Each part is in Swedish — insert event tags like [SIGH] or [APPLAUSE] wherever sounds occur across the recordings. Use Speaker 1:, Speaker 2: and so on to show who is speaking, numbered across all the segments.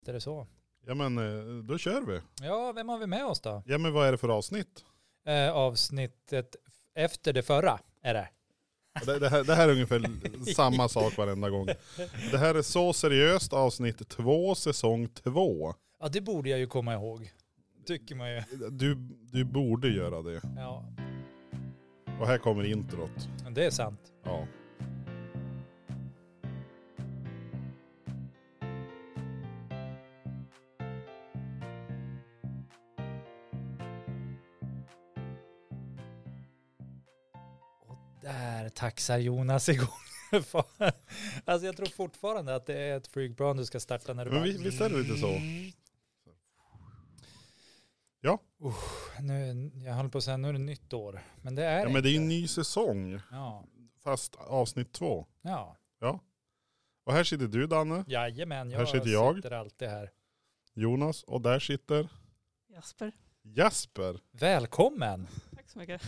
Speaker 1: Visst är det så.
Speaker 2: Ja men eh, då kör vi.
Speaker 1: Ja, vem har vi med oss då?
Speaker 2: Ja men vad är det för avsnitt?
Speaker 1: Eh, avsnittet f- efter det förra är det.
Speaker 2: Det, det, här, det här är ungefär samma sak varenda gång. Det här är Så seriöst avsnitt två, säsong två.
Speaker 1: Ja, det borde jag ju komma ihåg. Tycker man ju.
Speaker 2: Du, du borde göra det.
Speaker 1: Ja,
Speaker 2: Och här kommer introt.
Speaker 1: men det är sant.
Speaker 2: Ja.
Speaker 1: Där taxar Jonas igång. [LAUGHS] Fan. alltså jag tror fortfarande att det är ett flygplan du ska starta när du
Speaker 2: Men vi- visst är det lite så? Ja.
Speaker 1: Usch, nu, jag höll på att säga nu är det nytt år. Men det är
Speaker 2: ja
Speaker 1: det
Speaker 2: men det är ju en
Speaker 1: inte.
Speaker 2: ny säsong,
Speaker 1: Ja,
Speaker 2: fast avsnitt två.
Speaker 1: ja.
Speaker 2: Och här sitter du Danne,
Speaker 1: Jajamän, jag
Speaker 2: Här sitter jag.
Speaker 1: sitter alltid här.
Speaker 2: Jonas och där sitter
Speaker 3: Jasper.
Speaker 2: Jasper.
Speaker 1: Välkommen!
Speaker 3: Tack så mycket.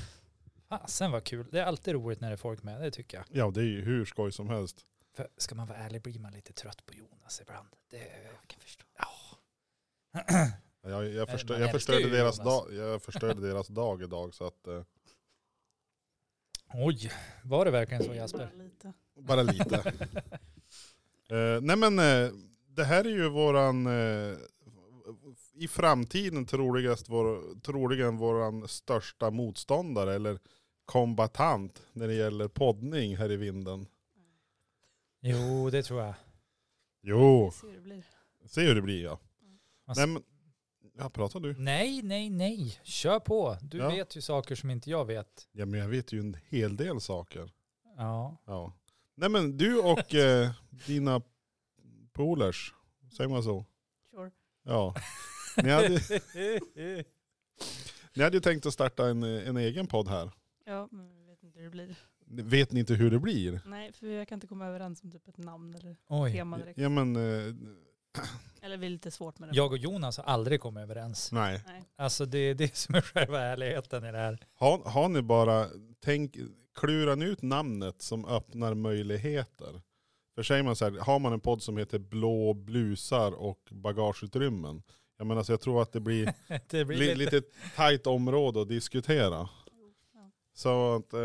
Speaker 1: Fasen vad kul. Det är alltid roligt när det är folk med, det tycker jag.
Speaker 2: Ja det är ju hur skoj som helst.
Speaker 1: För ska man vara ärlig blir man lite trött på Jonas ibland. Det är...
Speaker 3: Jag kan förstå.
Speaker 2: Jag, jag, förstör,
Speaker 1: man
Speaker 2: jag,
Speaker 1: älskar
Speaker 2: förstörde
Speaker 1: ju
Speaker 2: deras
Speaker 1: Jonas.
Speaker 2: dag, jag förstörde deras dag idag så att eh,
Speaker 1: Oj, var det verkligen så Jasper?
Speaker 3: Bara lite.
Speaker 2: Bara lite. [LAUGHS] Eh, nej men eh, det här är ju våran, eh, i framtiden troligast vår, troligen våran största motståndare eller kombatant när det gäller poddning här i vinden.
Speaker 1: Jo, det tror jag.
Speaker 2: Jo,
Speaker 3: Vi ser hur det blir.
Speaker 2: se hur det blir ja.
Speaker 1: Alltså-
Speaker 2: Nej men, ja pratar du?
Speaker 1: Nej, nej, nej. Kör på. Du
Speaker 2: Ja.
Speaker 1: vet ju saker som inte jag vet.
Speaker 2: Ja men jag vet ju en hel del saker.
Speaker 1: Ja.
Speaker 2: Ja. Nej men du och eh, dina polers, säger man så?
Speaker 3: Sure.
Speaker 2: Ja. Ni hade, ni hade ju tänkt att starta en, eh, en egen podd här.
Speaker 3: Ja, men vi vet inte hur det blir.
Speaker 2: Vet ni inte hur det blir?
Speaker 3: Nej, för jag kan inte komma överens om typ ett namn eller
Speaker 1: Oj.
Speaker 3: tema direkt.
Speaker 2: Ja men, eh,
Speaker 3: Eller vi är lite svårt med det.
Speaker 1: Jag och Jonas har aldrig kommit överens.
Speaker 2: nej.
Speaker 3: Nej.
Speaker 1: Alltså det är det som är själva ärligheten i det här.
Speaker 2: Har, har ni bara, tänk, klura ni ut namnet som öppnar möjligheter. För säger man så här, har man en podd som heter Blå blusar och bagageutrymmen. Jag menar så jag tror att det
Speaker 3: [LAUGHS]
Speaker 2: blir,
Speaker 1: Det blir
Speaker 2: li,
Speaker 1: lite...
Speaker 2: lite tajt område att diskutera.
Speaker 3: ja.
Speaker 2: Så att, eh,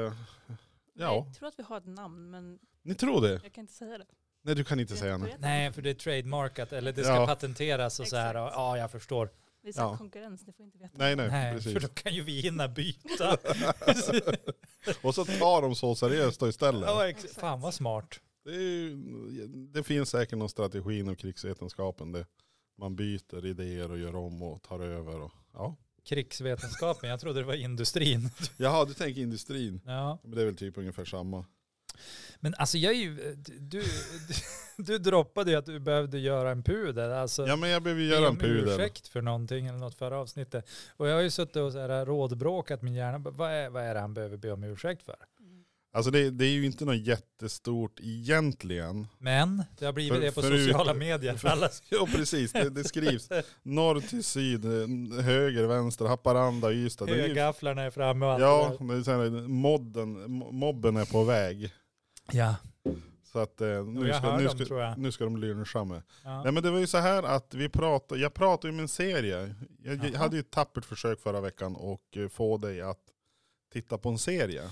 Speaker 2: ja.
Speaker 3: Jag tror att vi har ett namn, men
Speaker 2: Ni tror det?
Speaker 3: jag kan inte säga det.
Speaker 2: Nej du kan inte
Speaker 3: Jag
Speaker 2: säga
Speaker 3: vet
Speaker 2: nej.
Speaker 1: Nej, för det är trademarkat eller det ska
Speaker 2: Ja.
Speaker 1: patenteras och så här.
Speaker 3: Exakt.
Speaker 1: Ja, jag förstår.
Speaker 3: Vi är så här
Speaker 2: Ja.
Speaker 3: konkurrens, ni får inte veta.
Speaker 2: Nej nej,
Speaker 1: Nej, för
Speaker 2: precis.
Speaker 1: då kan ju vi hinna byta.
Speaker 2: [LAUGHS] Och så tar de så seriöst då istället.
Speaker 1: ja, ex- fan vad smart.
Speaker 2: Det, är ju, det finns säkert någon strategi inom krigsvetenskapen. Det, man byter idéer och gör om och tar över. Och, ja.
Speaker 1: Krigsvetenskapen, jag trodde det var industrin.
Speaker 2: Jaha, du tänker industrin.
Speaker 1: Ja.
Speaker 2: Men det är väl typ ungefär samma.
Speaker 1: Men alltså jag är ju, du, du droppade ju att du behövde göra en pudel. Alltså,
Speaker 2: Ja men jag behöver ju göra en
Speaker 1: be om
Speaker 2: pudel.
Speaker 1: ursäkt för någonting eller något förra avsnittet. Och jag har ju suttit och så här rådbråkat min hjärna. B- Vad är, vad är det han behöver be om ursäkt för?
Speaker 3: Mm.
Speaker 2: Alltså det, det är ju inte något jättestort egentligen.
Speaker 1: Men det har blivit
Speaker 2: För-
Speaker 1: det på
Speaker 2: förut-
Speaker 1: sociala medier. För alla.
Speaker 2: Ja precis, det, det skrivs norr till syd, eh, höger, vänster, Haparanda, Ystad. Det är ju,
Speaker 1: Högafflarna är framme och allt
Speaker 2: ja,
Speaker 1: det där.
Speaker 2: det är så här, modden, mo- mobben är på väg.
Speaker 1: ja.
Speaker 2: Så att eh,
Speaker 1: Och
Speaker 2: nu,
Speaker 1: jag
Speaker 2: ska,
Speaker 1: hör
Speaker 2: nu,
Speaker 1: dem
Speaker 2: ska,
Speaker 1: tror jag.
Speaker 2: nu ska de lyncha mig.
Speaker 1: Ja.
Speaker 2: Nej men det var ju så här att vi pratade, jag pratade ju med en serie. Jag, jag
Speaker 1: Jaha.
Speaker 2: hade ju ett tappert försök förra veckan och eh, få dig att titta på en serie.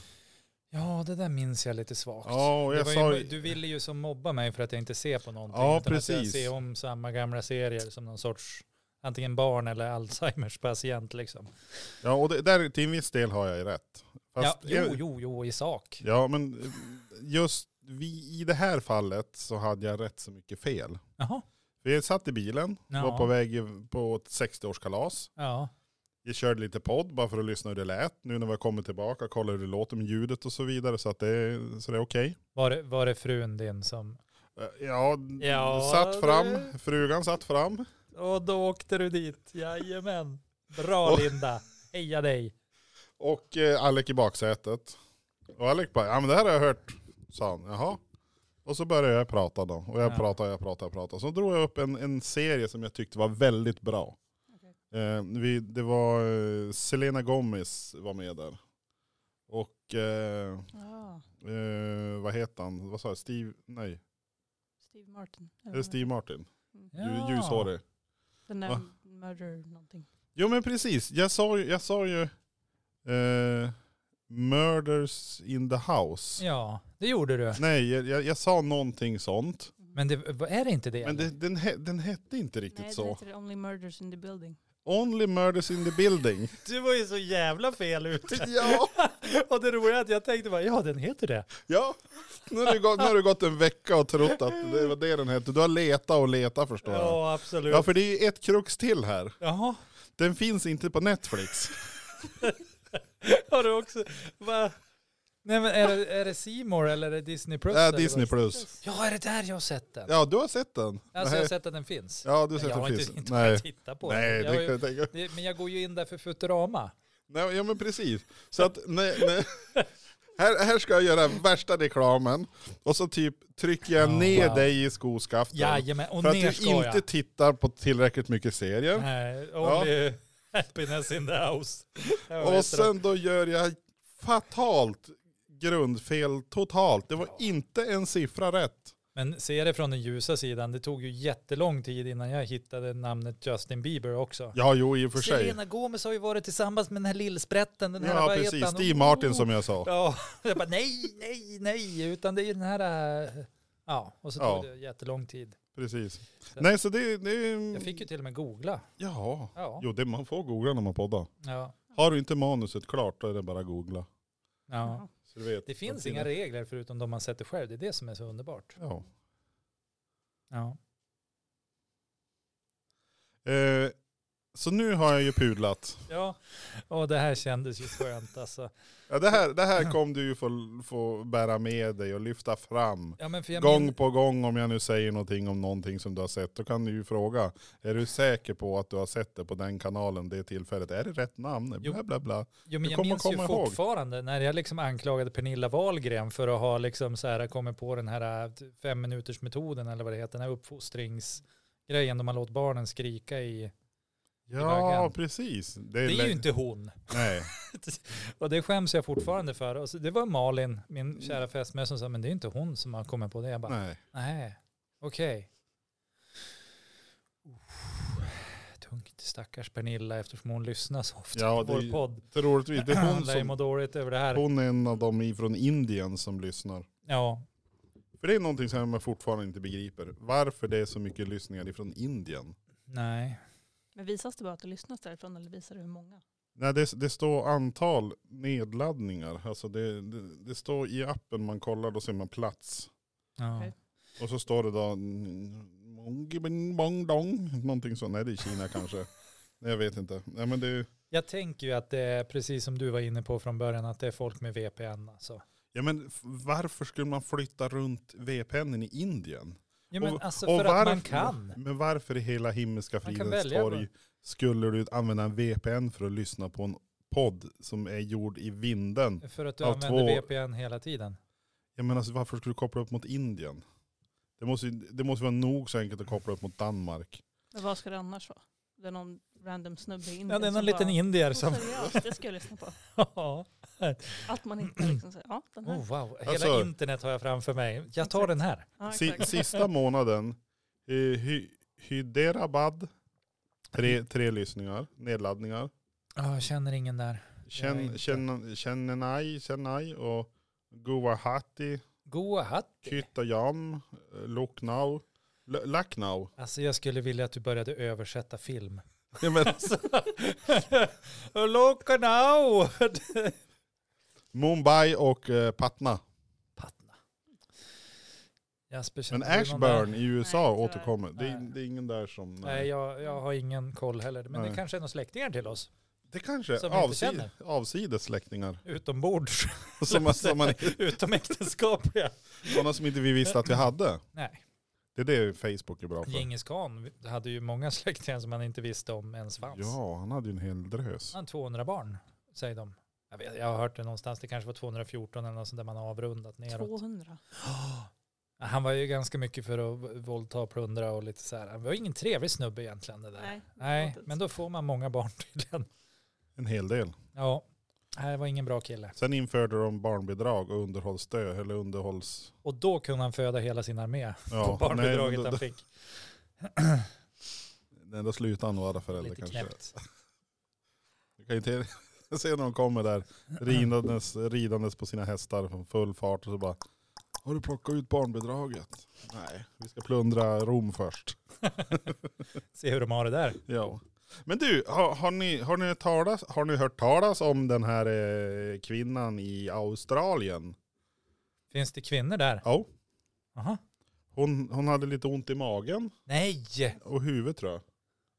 Speaker 1: ja, det där minns jag lite svagt.
Speaker 2: Ja, och
Speaker 1: Det
Speaker 2: jag
Speaker 1: var
Speaker 2: sa
Speaker 1: ju,
Speaker 2: ju-
Speaker 1: du ville ju som mobba mig för att jag inte ser på någonting.
Speaker 2: Ja,
Speaker 1: utan Att jag
Speaker 2: precis.
Speaker 1: ser om samma gamla serier som någon sorts antingen barn eller Alzheimers patient liksom.
Speaker 2: Ja och det, där till en viss del har jag ju rätt.
Speaker 1: Ja,
Speaker 2: Fast
Speaker 1: jo,
Speaker 2: jag-
Speaker 1: jo, jo, i sak.
Speaker 2: Ja men eh, just vi, i det här fallet så hade jag rätt så mycket fel.
Speaker 1: Jaha,
Speaker 2: Vi satt i bilen,
Speaker 1: Ja.
Speaker 2: var på väg på ett 60-årskalas.
Speaker 1: ja.
Speaker 2: Jag körde lite podd bara för att lyssna hur det lät. Nu när vi har kommit tillbaka, kolla hur det låter med ljudet och så vidare. Så att det, så det är okej.
Speaker 1: Var det, var det frun din som...
Speaker 2: Eh, Ja,
Speaker 1: Ja,
Speaker 2: satt fram.
Speaker 1: det-
Speaker 2: Frugan satt fram.
Speaker 1: Och då åkte du dit, jajamän. Bra
Speaker 2: Och-
Speaker 1: Linda, heja dig.
Speaker 2: Och eh, Alec i baksätet. Och Alec bara, ja men det här har jag hört, sa han. Jaha. Och så började jag prata då. Och jag
Speaker 1: Ja.
Speaker 2: pratade, jag pratade, jag pratade. Så drog jag upp en, en serie som jag tyckte var väldigt bra. Eh, vi, det var eh, Selena Gomez var med där. Och eh,
Speaker 3: Ja,
Speaker 2: eh, vad heter han? Vad sa jag? Steve? Nej.
Speaker 3: Steve Martin.
Speaker 2: Är det Steve Martin?
Speaker 3: Mm.
Speaker 2: Lju- Ljushårig.
Speaker 3: The Nam-
Speaker 2: Va?
Speaker 3: Murder någonting.
Speaker 2: Jo men precis, jag sa ju, jag sa ju eh, Murders in the house.
Speaker 1: Ja, det gjorde du.
Speaker 2: Nej, jag, jag, jag sa någonting sånt.
Speaker 3: Mhm.
Speaker 1: Men det, vad är det inte det?
Speaker 2: Men det, den, he, den hette inte riktigt
Speaker 3: Nej,
Speaker 2: så.
Speaker 3: det heter det Only Murders in the Building.
Speaker 2: Only Murders in the building.
Speaker 1: Du var ju så jävla fel ute.
Speaker 2: [LAUGHS] ja,
Speaker 1: Och det roliga är att jag tänkte bara, ja den heter det.
Speaker 2: ja. Nu har, du gått, nu har du gått en vecka och trott att det var det den hette. Du har letat och letat förstår jag.
Speaker 1: Ja, absolut.
Speaker 2: Ja för det är ju ett krux till här.
Speaker 1: Jaha,
Speaker 2: Den finns inte på Netflix.
Speaker 1: har du också, va? Nej men är det, är det C More eller är det Disney Plus?
Speaker 2: Det är
Speaker 1: eller vad?
Speaker 2: Äh, Disney Plus.
Speaker 1: Ja, är det där jag har sett den?
Speaker 2: Ja du har sett den.
Speaker 1: Alltså jag
Speaker 2: Nej.
Speaker 1: har sett att den finns.
Speaker 2: Ja du har sett
Speaker 1: jag har
Speaker 2: den
Speaker 1: inte,
Speaker 2: finns.
Speaker 1: inte
Speaker 2: Nej,
Speaker 1: hunnit titta på
Speaker 2: Nej
Speaker 1: den. Jag
Speaker 2: det
Speaker 1: har
Speaker 2: kan
Speaker 1: ju,
Speaker 2: jag tänka
Speaker 1: det, men jag går ju in där för Futurama.
Speaker 2: Nej, ja men precis. Så att, nej,
Speaker 1: [LAUGHS]
Speaker 2: nej. Här, här ska jag göra värsta reklamen och så typ trycker jag
Speaker 1: Ja,
Speaker 2: ner
Speaker 1: wow.
Speaker 2: dig i skoskaften.
Speaker 1: Jajamän, och
Speaker 2: för att
Speaker 1: ner
Speaker 2: du
Speaker 1: ska
Speaker 2: inte
Speaker 1: jag.
Speaker 2: tittar på tillräckligt mycket serier.
Speaker 1: Nej, only happiness in the house. Ja,
Speaker 2: och
Speaker 1: vet du.
Speaker 2: sen då gör jag fatalt grundfel totalt. Det var
Speaker 1: Ja.
Speaker 2: inte en siffra rätt.
Speaker 1: Men se det från den ljusa sidan, det tog ju jättelång tid innan jag hittade namnet Justin Bieber också.
Speaker 2: Ja, jo i och för sig.
Speaker 1: Selena Gomez har ju varit tillsammans med den här lillsprätten, den här
Speaker 2: Ja,
Speaker 1: vad heter
Speaker 2: precis.
Speaker 1: han?
Speaker 2: Steve Martin
Speaker 1: Oh.
Speaker 2: som jag sa.
Speaker 1: Ja, [LAUGHS] jag bara nej, nej, nej, utan det är ju den här, äh, ja, och så tog
Speaker 2: Ja.
Speaker 1: det jättelång tid.
Speaker 2: Precis. Nej, så det... det
Speaker 1: Jag fick ju typ- till och med googla.
Speaker 2: Ja.
Speaker 1: Ja,
Speaker 2: Jo, det, man får googla när man poddar.
Speaker 1: ja,
Speaker 2: Har du inte manuset klart då är det bara att googla.
Speaker 1: ja.
Speaker 2: Så du vet.
Speaker 1: Det finns
Speaker 2: Vad
Speaker 1: inga
Speaker 2: tiden-
Speaker 1: regler förutom de man sätter själv, det är det som är så underbart.
Speaker 2: Ja.
Speaker 1: Ja,
Speaker 2: Eh, så nu har jag ju pudlat.
Speaker 1: ja. och det här kändes ju skönt alltså.
Speaker 2: Ja, det, här, det här kom du ju få, få bära med dig och lyfta fram.
Speaker 1: Ja, men för jag
Speaker 2: Gång
Speaker 1: min-
Speaker 2: på gång om jag nu säger någonting om någonting som du har sett, då kan du ju fråga, är du säker på att du har sett det på den kanalen det tillfället? Är det rätt namn?
Speaker 1: Jo.
Speaker 2: Bla, bla, bla.
Speaker 1: Jo, men
Speaker 2: Du
Speaker 1: jag
Speaker 2: kommer
Speaker 1: minns
Speaker 2: komma
Speaker 1: ju
Speaker 2: ihåg.
Speaker 1: fortfarande när jag liksom anklagade Pernilla Wahlgren för att ha liksom så här kommit på den här äh, fem minuters metoden eller vad det heter, den här uppfostringsgrejen då man låter barnen skrika i...
Speaker 2: Ja,
Speaker 1: Flaggan.
Speaker 2: precis.
Speaker 1: Det är
Speaker 2: lä-
Speaker 1: ju inte hon. [LAUGHS]
Speaker 2: Nej.
Speaker 1: Och det skäms jag fortfarande för. Och så, det var Malin, min kära fästmö, som sa, men det är inte hon som har kommit på det. Jag bara,
Speaker 2: Nej.
Speaker 1: nej, okej. Tungt stackars Pernilla eftersom hon lyssnar så ofta på
Speaker 2: Ja, det är
Speaker 1: vår
Speaker 2: ju-
Speaker 1: podd.
Speaker 2: Troligtvis, det är hon
Speaker 1: Hon lär ju må
Speaker 2: som,
Speaker 1: dåligt över det här.
Speaker 2: hon är en av dem ifrån Indien som lyssnar.
Speaker 1: Ja,
Speaker 2: För det är någonting som jag fortfarande inte begriper. Varför det är så mycket lyssningar ifrån Indien?
Speaker 1: nej.
Speaker 3: Men visas det bara att det lyssnas därifrån eller visar du hur många?
Speaker 2: Nej, det, det står antal nedladdningar. Alltså det, det, det står i appen man kollar, då ser man plats.
Speaker 1: Ja.
Speaker 3: Okej.
Speaker 2: Och så står det då mm, Mong- Bing- Bong Dong, någonting sånt. Nej, det är Kina kanske. Nej, jag vet inte. Nej, men det,
Speaker 1: Jag tänker ju att det är precis som du var inne på från början, att det är folk med VPN. Alltså.
Speaker 2: ja, men f- varför skulle man flytta runt VPN i Indien?
Speaker 1: Ja, men
Speaker 2: Och-
Speaker 1: alltså
Speaker 2: och
Speaker 1: för att man
Speaker 2: varför-
Speaker 1: kan.
Speaker 2: Men varför i hela himmelska
Speaker 1: Man kan
Speaker 2: fridens
Speaker 1: välja
Speaker 2: torg
Speaker 1: bara.
Speaker 2: skulle du använda en VPN för att lyssna på en podd som är gjord i vinden?
Speaker 1: För att du
Speaker 2: av
Speaker 1: använder
Speaker 2: två-
Speaker 1: VPN hela tiden.
Speaker 2: Jag menar, alltså, varför skulle du koppla upp mot Indien? Det måste, ju- det måste vara nog så enkelt att koppla upp mot Danmark.
Speaker 3: Men vad ska det annars vara? Det är någon random snubbe i Indien
Speaker 1: Ja, det är någon
Speaker 3: som
Speaker 1: liten
Speaker 3: bara,
Speaker 1: indier
Speaker 3: "Åh,
Speaker 1: som... [LAUGHS]
Speaker 3: seriöst, det ska jag lyssna på.
Speaker 1: Ja.
Speaker 3: Allt man hittar
Speaker 2: Mm.
Speaker 3: liksom. Så, här, ja, den här.
Speaker 1: oh, wow, hela
Speaker 2: Alltså-
Speaker 1: internet har jag framför mig. Jag tar
Speaker 3: Exakt.
Speaker 1: den här.
Speaker 3: Ja,
Speaker 2: Si,
Speaker 3: exakt.
Speaker 2: sista månaden, eh, Hy- Hyderabad, tre, tre lyssningar, nedladdningar.
Speaker 1: Ja, jag känner ingen där. Jag
Speaker 2: Chen-
Speaker 1: inte.
Speaker 2: Chen- Chennai, Chennai och Guwahati,
Speaker 1: Goa hatt.
Speaker 2: Kyttayam, eh, Lucknow, L- Lucknow.
Speaker 1: Alltså jag skulle vilja att du började översätta [LAUGHS] film.
Speaker 2: Ja, men-
Speaker 1: Look now!
Speaker 2: [LAUGHS] Mumbai och eh, Patna.
Speaker 1: Patna. Jasper,
Speaker 2: Men
Speaker 1: känner du någon där?
Speaker 2: Ashburn i USA
Speaker 3: Nej, tyvärr.
Speaker 2: återkommer. Det är,
Speaker 1: Nej.
Speaker 2: det är ingen där som... eh,
Speaker 1: Nej, jag, jag har ingen koll heller. Men det
Speaker 2: Nej.
Speaker 1: kanske är några släktingar till oss.
Speaker 2: det kanske
Speaker 1: som
Speaker 2: är
Speaker 1: vi inte
Speaker 2: avsid,
Speaker 1: känner.
Speaker 2: avsides släktingar. [LAUGHS]
Speaker 1: Utombords. [LAUGHS]
Speaker 2: Som, man- som man,
Speaker 1: Utomäktenskapliga.
Speaker 2: sådana som inte vi visste att vi hade.
Speaker 1: Nej.
Speaker 2: Det är det Facebook är bra för.
Speaker 1: Djingis khan hade ju många släktingar som man inte visste om ens fanns.
Speaker 2: Ja, han hade ju en hel drös.
Speaker 1: Han hade 200 barn, säger de. Jag, vet, jag har hört det någonstans. Det kanske var 214 eller något sånt där man har avrundat neråt.
Speaker 3: 200.
Speaker 1: Han var ju ganska mycket för att v- våldta, plundra och lite så här. Han var ju ingen trevlig snubbe egentligen det där.
Speaker 3: Nej,
Speaker 1: Nej,
Speaker 3: låter
Speaker 1: men
Speaker 3: inte
Speaker 1: då får man många barn [LAUGHS] tydligen.
Speaker 2: En hel del.
Speaker 1: Ja, det var ingen bra kille.
Speaker 2: Sen införde de barnbidrag och underhållsstöd,
Speaker 1: [LAUGHS]
Speaker 2: eller underhålls...
Speaker 1: Och då kunde han föda hela sin armé [LAUGHS]
Speaker 2: Ja,
Speaker 1: på barnbidraget
Speaker 2: nej, men då-
Speaker 1: han fick.
Speaker 2: Nej, då slutar han nog alla föräldrar
Speaker 1: Lite
Speaker 2: kanske.
Speaker 1: knäppt.
Speaker 2: Du kan ju inte [LAUGHS] se när de kommer där ridandes, ridandes på sina hästar från full fart och så bara Har du plockat ut barnbidraget? Nej, vi ska plundra Rom först.
Speaker 1: Se hur de har det där.
Speaker 2: Ja. Men du, har, har, ni, har, ni talas, har ni hört talas om den här eh, kvinnan i Australien?
Speaker 1: Finns det kvinnor där?
Speaker 2: Ja,
Speaker 1: Aha.
Speaker 2: hon, hon hade lite ont i magen
Speaker 1: Nej!
Speaker 2: och huvudet tror jag.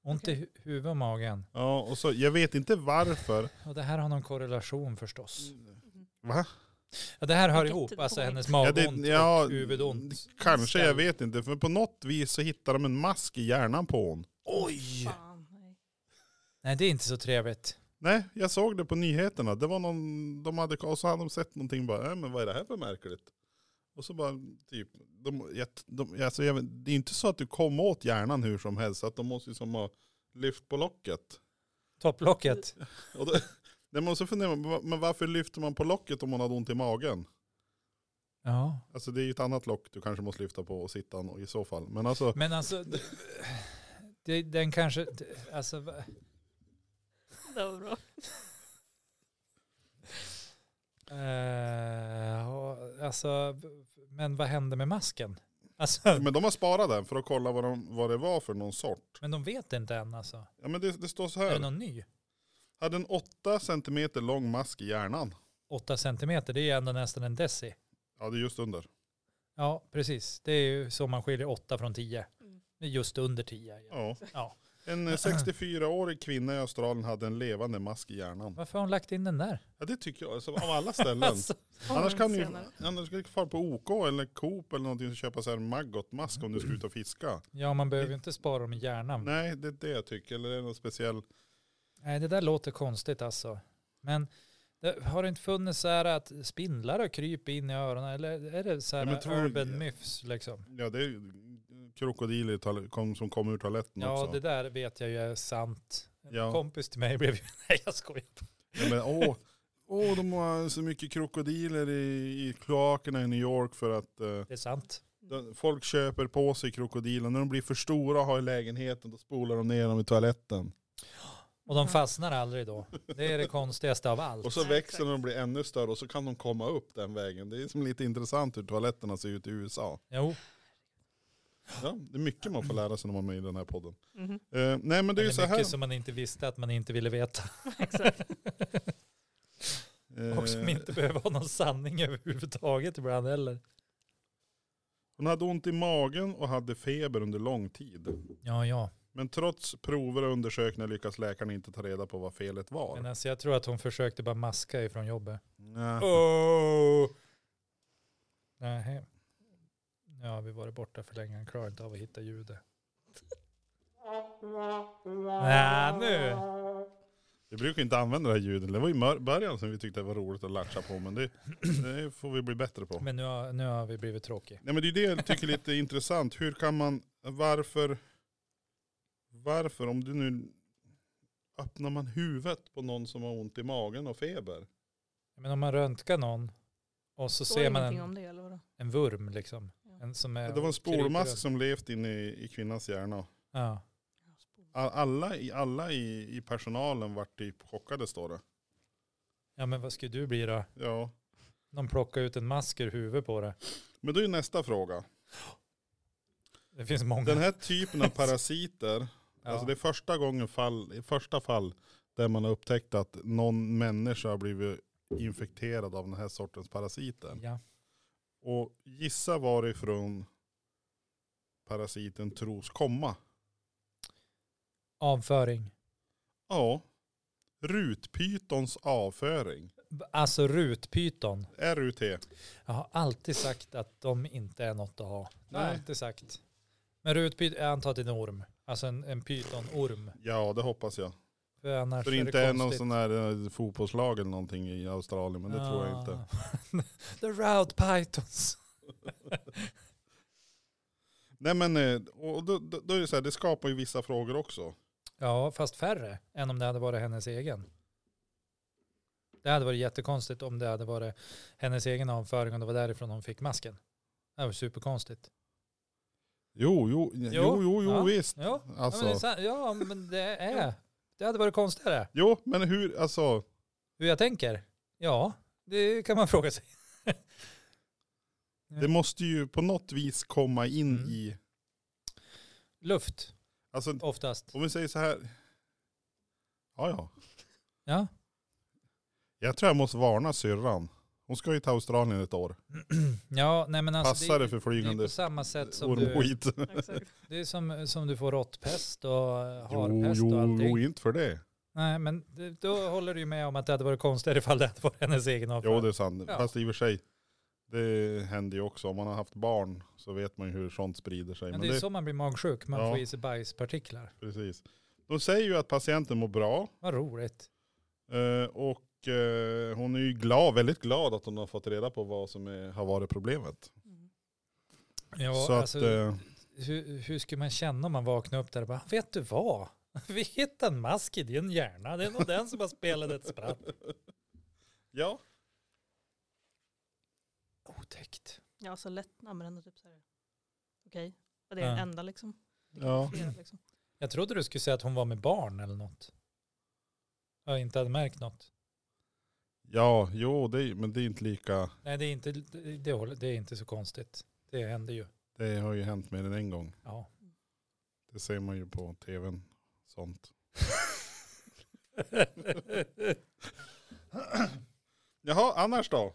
Speaker 1: Ont i hu- huvudet och magen.
Speaker 2: Ja, och så, jag vet inte varför.
Speaker 1: Och det här har någon korrelation förstås.
Speaker 2: Mm. Va?
Speaker 1: Ja, det här hör
Speaker 3: Vilket
Speaker 1: ihop, alltså
Speaker 3: point.
Speaker 1: hennes
Speaker 2: Ja,
Speaker 1: magont
Speaker 2: det- ja,
Speaker 1: och huvudont.
Speaker 2: Kanske, jag
Speaker 1: Ställ.
Speaker 2: vet inte. För på något vis så hittade de en mask i hjärnan på hon.
Speaker 1: Oj!
Speaker 3: Fan, nej.
Speaker 1: Nej, det är inte så trevligt.
Speaker 2: Nej, jag såg det på nyheterna. Det var någon, de hade, och så hade de sett någonting bara, nej men vad är det här för märkligt? Och så bara typ, de, jag, de, alltså, jag, vet- det är inte så att du kommer åt hjärnan hur som helst, så att de måste ju som ha lyft på locket.
Speaker 1: Topplocket.
Speaker 2: Och då, [LAUGHS] nej, men så funderar man, va- men varför lyfter man på locket om man har ont i magen?
Speaker 1: Ja.
Speaker 2: Alltså det är ju ett annat lock du kanske måste lyfta på och sitta an- i så fall. Men alltså,
Speaker 1: Men alltså, d- det, den kanske, d- alltså, va-
Speaker 3: Det var bra.
Speaker 1: eh, och- alltså, men vad hände med masken? Alltså,
Speaker 2: men de har sparat den för att kolla vad, de, vad det var för någon sort.
Speaker 1: men de vet inte än alltså.
Speaker 2: Ja men det, det står så
Speaker 1: Är det
Speaker 2: här,
Speaker 1: någon ny?
Speaker 2: hade en 8 cm lång mask i hjärnan.
Speaker 1: 8 centimeter, det är ju ändå nästan en deci.
Speaker 2: Ja det är just under.
Speaker 1: Ja, precis. Det är ju så man skiljer 8 från 10. Det är Just under 10. Ja.
Speaker 2: Ja.
Speaker 1: Ja.
Speaker 2: En eh, 64-årig kvinna i Australien hade en levande mask i hjärnan.
Speaker 1: Varför har hon lagt in den där?
Speaker 2: Ja, det tycker jag, alltså, av
Speaker 1: [LAUGHS]
Speaker 2: alla ställen.
Speaker 1: Alltså,
Speaker 2: annars kan du ju
Speaker 3: Senare.
Speaker 2: annars kan du fara på OK eller Coop eller någonting och köpa så här maggotmask om du ska ut och fiska.
Speaker 1: ja, man behöver ju inte spara dem i hjärnan. Nej.
Speaker 2: Nej, det är det jag tycker. Eller är det någon speciell...
Speaker 1: det där låter konstigt alltså. Men det, har det inte funnits så här att spindlar har krypit in i öronen? Eller är det så här
Speaker 2: Ja, men tror du-
Speaker 1: urban myths liksom?
Speaker 2: Ja, det är ju krokodiler i toal- kom- som kommer ur toaletten
Speaker 1: Ja,
Speaker 2: också.
Speaker 1: det där vet jag ju är sant. En
Speaker 2: Ja.
Speaker 1: kompis till mig blev ju... [LAUGHS] Nej, jag skojar.
Speaker 2: Ja, men, åh, åh, de har så mycket krokodiler i, i kloakerna i New York för att eh,
Speaker 1: Det är sant.
Speaker 2: de- folk köper på sig krokodiler. När de blir för stora och har i lägenheten då spolar de ner dem i toaletten.
Speaker 1: Och de fastnar aldrig då. Det är det konstigaste av allt.
Speaker 2: [LAUGHS] Och så
Speaker 3: Nej,
Speaker 2: växer
Speaker 3: exakt.
Speaker 2: de och blir ännu större och så kan de komma upp den vägen. Det är som lite intressant hur toaletterna ser ut i USA.
Speaker 1: Jo,
Speaker 2: Ja, det är mycket man får lära sig när man är med i den här podden.
Speaker 3: Mhm.
Speaker 2: Eh, nej men det är ju så här.
Speaker 1: mycket som man inte visste att man inte ville veta.
Speaker 3: Exakt.
Speaker 2: Eh,
Speaker 1: Och som inte behöver ha någon sanning [LAUGHS] överhuvudtaget ibland heller.
Speaker 2: Hon hade ont i magen och hade feber under lång tid.
Speaker 1: Ja, ja.
Speaker 2: Men trots prover och undersökningar lyckas läkaren inte ta reda på vad felet var.
Speaker 1: Men alltså jag tror att hon försökte bara maska ifrån jobbet.
Speaker 2: Nej.
Speaker 1: Oh! Nej. Ja, vi var borta för länge. Han klarar inte av att hitta ljudet. Nej, nu.
Speaker 2: Vi brukar inte använda det här ljudet. Det var i mör- början som vi tyckte det var roligt att latcha på men det, det får vi bli bättre på.
Speaker 1: Men nu har, nu har vi blivit tråkiga.
Speaker 2: Nej men det är det jag tycker är lite intressant. Hur kan man, varför, varför om du nu öppnar man huvudet på någon som har ont i magen och feber?
Speaker 1: Men om man röntgar någon och så
Speaker 3: Står
Speaker 1: ser man
Speaker 3: ingenting
Speaker 1: en,
Speaker 3: om det eller vadå?
Speaker 1: en vurm liksom. En som är
Speaker 2: det var
Speaker 1: kryper
Speaker 2: en spolmask
Speaker 1: runt.
Speaker 2: som levt inne i, i kvinnans hjärna.
Speaker 1: Ja.
Speaker 2: A- Alla, i, alla i, i personalen vart typ chockade står det.
Speaker 1: ja, men vad skulle du bli då?
Speaker 2: Ja.
Speaker 1: De plockar ut en mask ur huvudet på det.
Speaker 2: Men då är nästa fråga.
Speaker 1: Det finns många.
Speaker 2: Den här typen av parasiter,
Speaker 1: ja.
Speaker 2: alltså det är första gången fall, i första fall där man har upptäckt att någon människa har blivit infekterad av den här sortens parasiter.
Speaker 1: ja.
Speaker 2: Och gissa varifrån parasiten tros komma.
Speaker 1: Avföring.
Speaker 2: Ja, rutpytons avföring.
Speaker 1: Alltså rutpyton.
Speaker 2: RUT.
Speaker 1: Jag har alltid sagt att de inte är något att ha. Det har jag
Speaker 2: Nej.
Speaker 1: alltid sagt. Men rutpyton, jag antar att det är en orm. Alltså en, en pytonorm.
Speaker 2: Ja, det hoppas jag.
Speaker 1: För annars
Speaker 2: För det
Speaker 1: är
Speaker 2: inte
Speaker 1: det
Speaker 2: är
Speaker 1: konstigt.
Speaker 2: någon sån här eh, fotbollslag eller någonting i Australien, men det tror jag
Speaker 1: Ah.
Speaker 2: inte.
Speaker 1: [LAUGHS] The route pythons.
Speaker 2: Nej men, eh, och då, då, då är det så här, det skapar ju vissa frågor också.
Speaker 1: Ja, fast färre än om det hade varit hennes egen. Det hade varit jättekonstigt om det hade varit hennes egen avföring och det var därifrån hon fick masken. Det var superkonstigt.
Speaker 2: Jo, jo, jo, jo, jo,
Speaker 1: ja.
Speaker 2: visst.
Speaker 1: Ja, ja, men, det är
Speaker 2: Alltså,
Speaker 1: sant. ja men det är. Det hade varit konstigare.
Speaker 2: jo, men hur, alltså,
Speaker 1: Hur jag tänker? Ja, det kan man [LAUGHS] fråga sig.
Speaker 2: det måste ju på något vis komma in
Speaker 1: Mm.
Speaker 2: i,
Speaker 1: Luft
Speaker 2: alltså
Speaker 1: oftast.
Speaker 2: om vi säger så här, ja ja,
Speaker 1: Ja.
Speaker 2: jag tror jag måste varna syrran. Hon ska ju till Australien ett år.
Speaker 1: Ja, nej men alltså
Speaker 2: Passar
Speaker 1: det,
Speaker 2: det för
Speaker 1: det är
Speaker 2: flygande
Speaker 1: på samma sätt som du,
Speaker 2: ormskit?
Speaker 3: Exakt.
Speaker 1: det är som, som du får råttpest och
Speaker 2: Jo,
Speaker 1: harpest och
Speaker 2: jo,
Speaker 1: allting.
Speaker 2: jo, inte för det.
Speaker 1: Nej, men det, då håller du ju med om att det hade varit konstigare ifall det hade varit hennes egen avfall.
Speaker 2: Jo, det är sant.
Speaker 1: Ja.
Speaker 2: Fast i och för sig, det händer ju också. Om man har haft barn så vet man ju hur sånt sprider sig.
Speaker 1: men det är ju så man blir magsjuk, man
Speaker 2: Ja.
Speaker 1: får i sig bajspartiklar.
Speaker 2: Precis. De säger ju att patienten mår bra
Speaker 1: Vad roligt.
Speaker 2: eh, och eh, hon är ju glad, väldigt glad att hon har fått reda på vad som är, har varit problemet.
Speaker 3: Mm.
Speaker 1: Ja,
Speaker 2: så
Speaker 1: alltså,
Speaker 2: att, eh,
Speaker 1: hur, hur skulle man känna om man vaknar upp där och bara, vet du vad? Vi hittade en mask i din hjärna, det är nog den som har spelat ett spratt.
Speaker 2: ja,
Speaker 1: Otäckt.
Speaker 3: Ja, så lättnad men ändå typ så här. Okej, och det
Speaker 1: Ja.
Speaker 3: är den enda liksom. Det kan
Speaker 2: Ja.
Speaker 3: vara flera, liksom.
Speaker 1: Jag trodde du skulle säga att hon var med barn eller något. Jag inte hade märkt något.
Speaker 2: ja, jo, det, är- men det är inte lika.
Speaker 1: Nej, det är inte, det, det, håller- det är inte så konstigt. Det händer ju.
Speaker 2: Det har ju hänt mer än en gång.
Speaker 1: Ja.
Speaker 2: Det ser man ju på tvn. Sånt. [CLEARS THROAT] Jaha, annars då?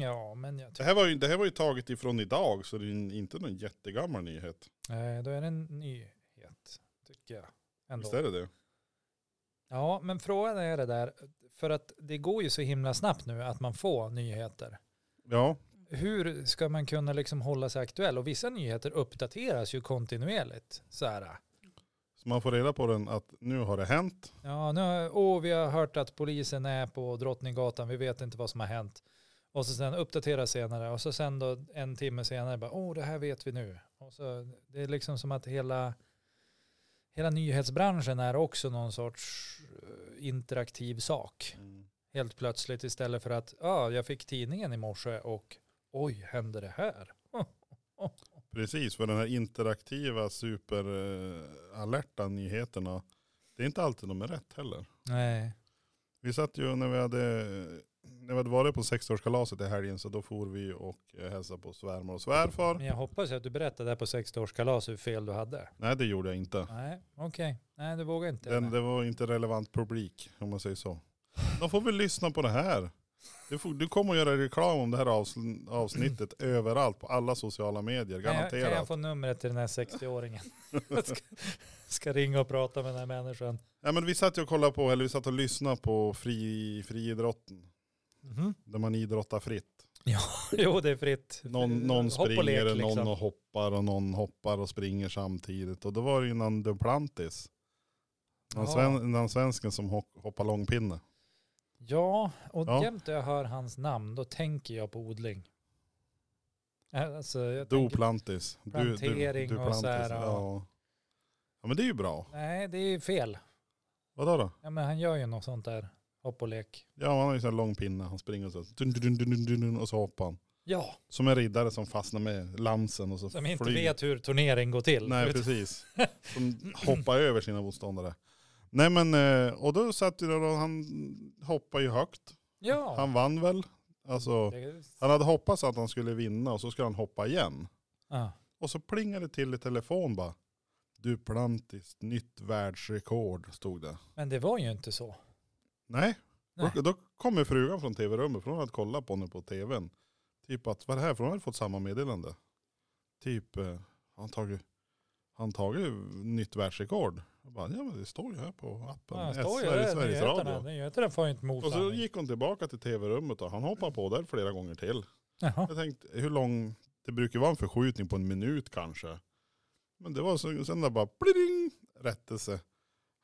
Speaker 1: ja, men jag
Speaker 2: Det
Speaker 1: tycker...
Speaker 2: här var ju, det här var ju taget ifrån idag så det är ju inte någon jättegammal nyhet.
Speaker 1: Nej, då är det en nyhet, tycker jag. Ändå.
Speaker 2: Visst är det det?
Speaker 1: Ja, men frågan är det där, för att det går ju så himla snabbt nu att man får nyheter.
Speaker 2: Ja,
Speaker 1: Hur ska man kunna liksom hålla sig aktuell? Och vissa nyheter uppdateras ju kontinuerligt. Så här,
Speaker 2: så man får reda på den att nu har det hänt.
Speaker 1: ja, nu, har- åh, vi har hört att polisen är på Drottninggatan, vi vet inte vad som har hänt. Och så sen uppdatera senare och så sen då en timme senare bara, åh, det här vet vi nu. Och så, det är liksom som att hela, hela nyhetsbranschen är också någon sorts eh, interaktiv sak. helt plötsligt istället för att ja, jag fick tidningen i morse och oj, hände det här?
Speaker 2: Precis, för den här interaktiva superalerta nyheterna, det är inte alltid de är rätt heller.
Speaker 1: Nej.
Speaker 2: Vi satt ju när vi hade, när vi hade varit på 60-årskalaset i helgen så då for vi och eh, hälsade på svärmor och svärfar.
Speaker 1: Men jag hoppas att du berättade där på 60-årskalas hur fel du hade.
Speaker 2: Nej det gjorde jag inte.
Speaker 1: Nej, okej. Nej, du vågar inte.
Speaker 2: Den, det var inte relevant publik om man säger så. De får väl lyssna på det här. Du, får, du kommer att göra reklam om det här avsn- avsnittet
Speaker 1: [CLEARS THROAT]
Speaker 2: överallt på alla sociala medier,
Speaker 1: Kan jag, kan jag
Speaker 2: garanterat.
Speaker 1: få numret till den här 60-åringen? Jag [LAUGHS] ska, ska ringa och prata med den här människan.
Speaker 2: Nej, men vi satt ju och kollade på, eller vi satt och lyssnade på fri, friidrotten,
Speaker 1: Mhm.
Speaker 2: där man idrottar fritt.
Speaker 1: Jo, det är fritt.
Speaker 2: Någon, någon
Speaker 1: Hopp och lek,
Speaker 2: springer, och någon
Speaker 1: liksom.
Speaker 2: och hoppar och någon hoppar och springer samtidigt. Och då var det ju någon Duplantis. Någon,
Speaker 1: Ja.
Speaker 2: sven, någon svensken som hopp, hoppar långpinne.
Speaker 1: Ja, och
Speaker 2: Ja.
Speaker 1: jämt när jag hör hans namn, då tänker jag på odling. Alltså, jag tänker,
Speaker 2: Duplantis. Du- du-
Speaker 1: plantering och
Speaker 2: Duplantis,
Speaker 1: så här, ja.
Speaker 2: Ja. ja men det är ju bra.
Speaker 1: nej, det är fel.
Speaker 2: Vadå då?
Speaker 1: Ja, men han gör ju något sånt där. Hopp och lek.
Speaker 2: Ja han har ju sån här lång pinne. Han springer och så, dun, dun, dun, dun, dun, dun, och så hoppar han.
Speaker 1: Ja,
Speaker 2: Som en riddare som fastnar med lansen och så
Speaker 1: som inte
Speaker 2: flyger.
Speaker 1: vet hur turnering går till.
Speaker 2: Nej
Speaker 1: Utan-
Speaker 2: precis. Som hoppar över sina motståndare. Nej men eh, och då satt ju då, han hoppar ju högt.
Speaker 1: Ja.
Speaker 2: Han vann väl? Alltså,
Speaker 1: Det-
Speaker 2: han hade hoppats att han skulle vinna och så skulle han hoppa igen.
Speaker 1: Ja.
Speaker 2: Och så plingade det till i telefon bara. Duplantis nytt världsrekord stod det.
Speaker 1: Men det var ju inte så.
Speaker 2: Nej,
Speaker 1: Nej.
Speaker 2: Då, då kommer frugan från tv-rummet för hon hade kollat på henne på tvn. Typ att, vad är det här? För hon hade fått samma meddelande. Typ, eh, han tagit, han tagit nytt världsrekord. Jag bara, ja men det står ju här på appen.
Speaker 1: Han
Speaker 2: Ja,
Speaker 1: står ju
Speaker 2: Sveriges,
Speaker 1: där,
Speaker 2: Sveriges
Speaker 1: nyheterna.
Speaker 2: Radio.
Speaker 1: Nyheterna får ju inte
Speaker 2: Och så
Speaker 1: motsanning.
Speaker 2: gick hon tillbaka till tv-rummet och han hoppade på där flera gånger till.
Speaker 1: Jaha.
Speaker 2: Jag tänkte hur lång, det brukar vara en förskjutning på en minut kanske. Men det var så, sen där bara pling, rättelse.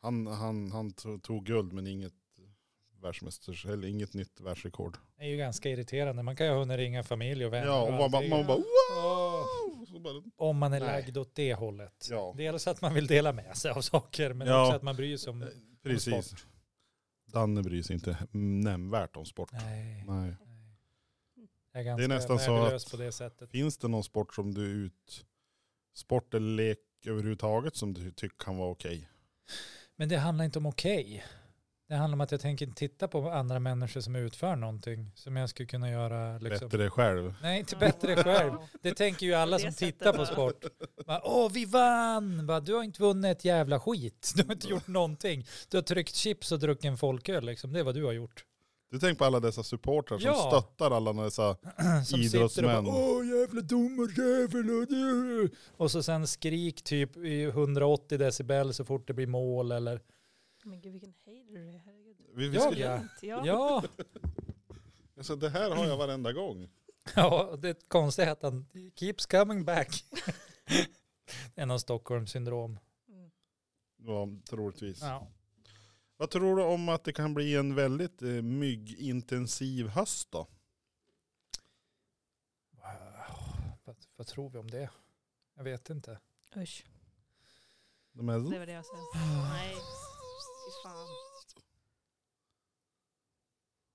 Speaker 2: Han, han, han to- tog guld men inget världsmästers, eller inget nytt världsrekord.
Speaker 1: Det är ju ganska irriterande. Man kan ju ha hunnit ringa familj och vänner.
Speaker 2: Ja, och man, bara-
Speaker 1: allting.
Speaker 2: man bara wow! Så bara,
Speaker 1: Om man är
Speaker 2: Nej.
Speaker 1: lagd åt det hållet.
Speaker 2: ja,
Speaker 1: Dels att man vill dela med sig av saker, men
Speaker 2: Ja.
Speaker 1: också att man bryr sig om...
Speaker 2: precis. Danne bryr sig inte nämnvärt om sport.
Speaker 1: Nej.
Speaker 2: Nej.
Speaker 1: Jag är ganska det är
Speaker 2: nästan
Speaker 1: nästan
Speaker 2: så
Speaker 1: värdelös
Speaker 2: att-
Speaker 1: på det sättet.
Speaker 2: Finns det någon sport som du ut, sport eller lek överhuvudtaget som du tycker kan vara okej?
Speaker 1: Men det handlar inte om okej. Det handlar om att jag tänker titta på andra människor som utför någonting som jag skulle kunna göra. Liksom.
Speaker 2: Bättre själv.
Speaker 1: Nej, inte bättre själv. Det tänker ju alla
Speaker 3: På det
Speaker 1: som tittar på
Speaker 3: sättet, ja.
Speaker 1: sport. Bara, Åh, vi vann! Bara, du har inte vunnit ett jävla skit. Du har inte gjort någonting. Du har tryckt chips och druckit en folköl. Liksom. Det är vad du har gjort.
Speaker 2: Du tänker på alla dessa supportrar som
Speaker 1: Ja.
Speaker 2: stöttar alla dessa,
Speaker 1: [CLEARS THROAT] Som
Speaker 2: Idrottsmän.
Speaker 1: sitter och bara, Åh, jävla domarjävel. och du." Och så sen skrik typ i 180 decibel så fort det blir mål. Eller,
Speaker 3: Men gud vilken hater du är. Herregud.
Speaker 2: vi, vi
Speaker 1: Jag,
Speaker 2: skulle,
Speaker 1: ja.
Speaker 3: Ja.
Speaker 1: ja. [LAUGHS]
Speaker 2: alltså, det här har jag varenda gång.
Speaker 1: Ja, det konstiga är att han keeps coming back. [LAUGHS] en av Stockholms syndrom.
Speaker 3: Mm.
Speaker 2: Ja, troligtvis.
Speaker 1: Ja.
Speaker 2: Vad tror du om att det kan bli en väldigt eh, myggintensiv höst då?
Speaker 1: Vad, vad tror vi om det? Jag vet inte.
Speaker 3: Usch,
Speaker 2: De här,
Speaker 3: det var det jag sa. Nej, fy fan.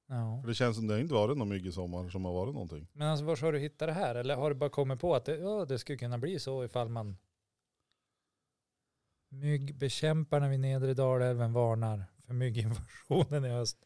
Speaker 1: Ja.
Speaker 2: För det känns som det har inte varit någon mygg i sommar som har varit någonting.
Speaker 1: Men alltså, var har du hittat det här? Eller har du bara kommit på att det, ja, det skulle kunna bli så ifall man... Myggbekämparna vid nedre Dalälven varnar för mygginvasionen i höst.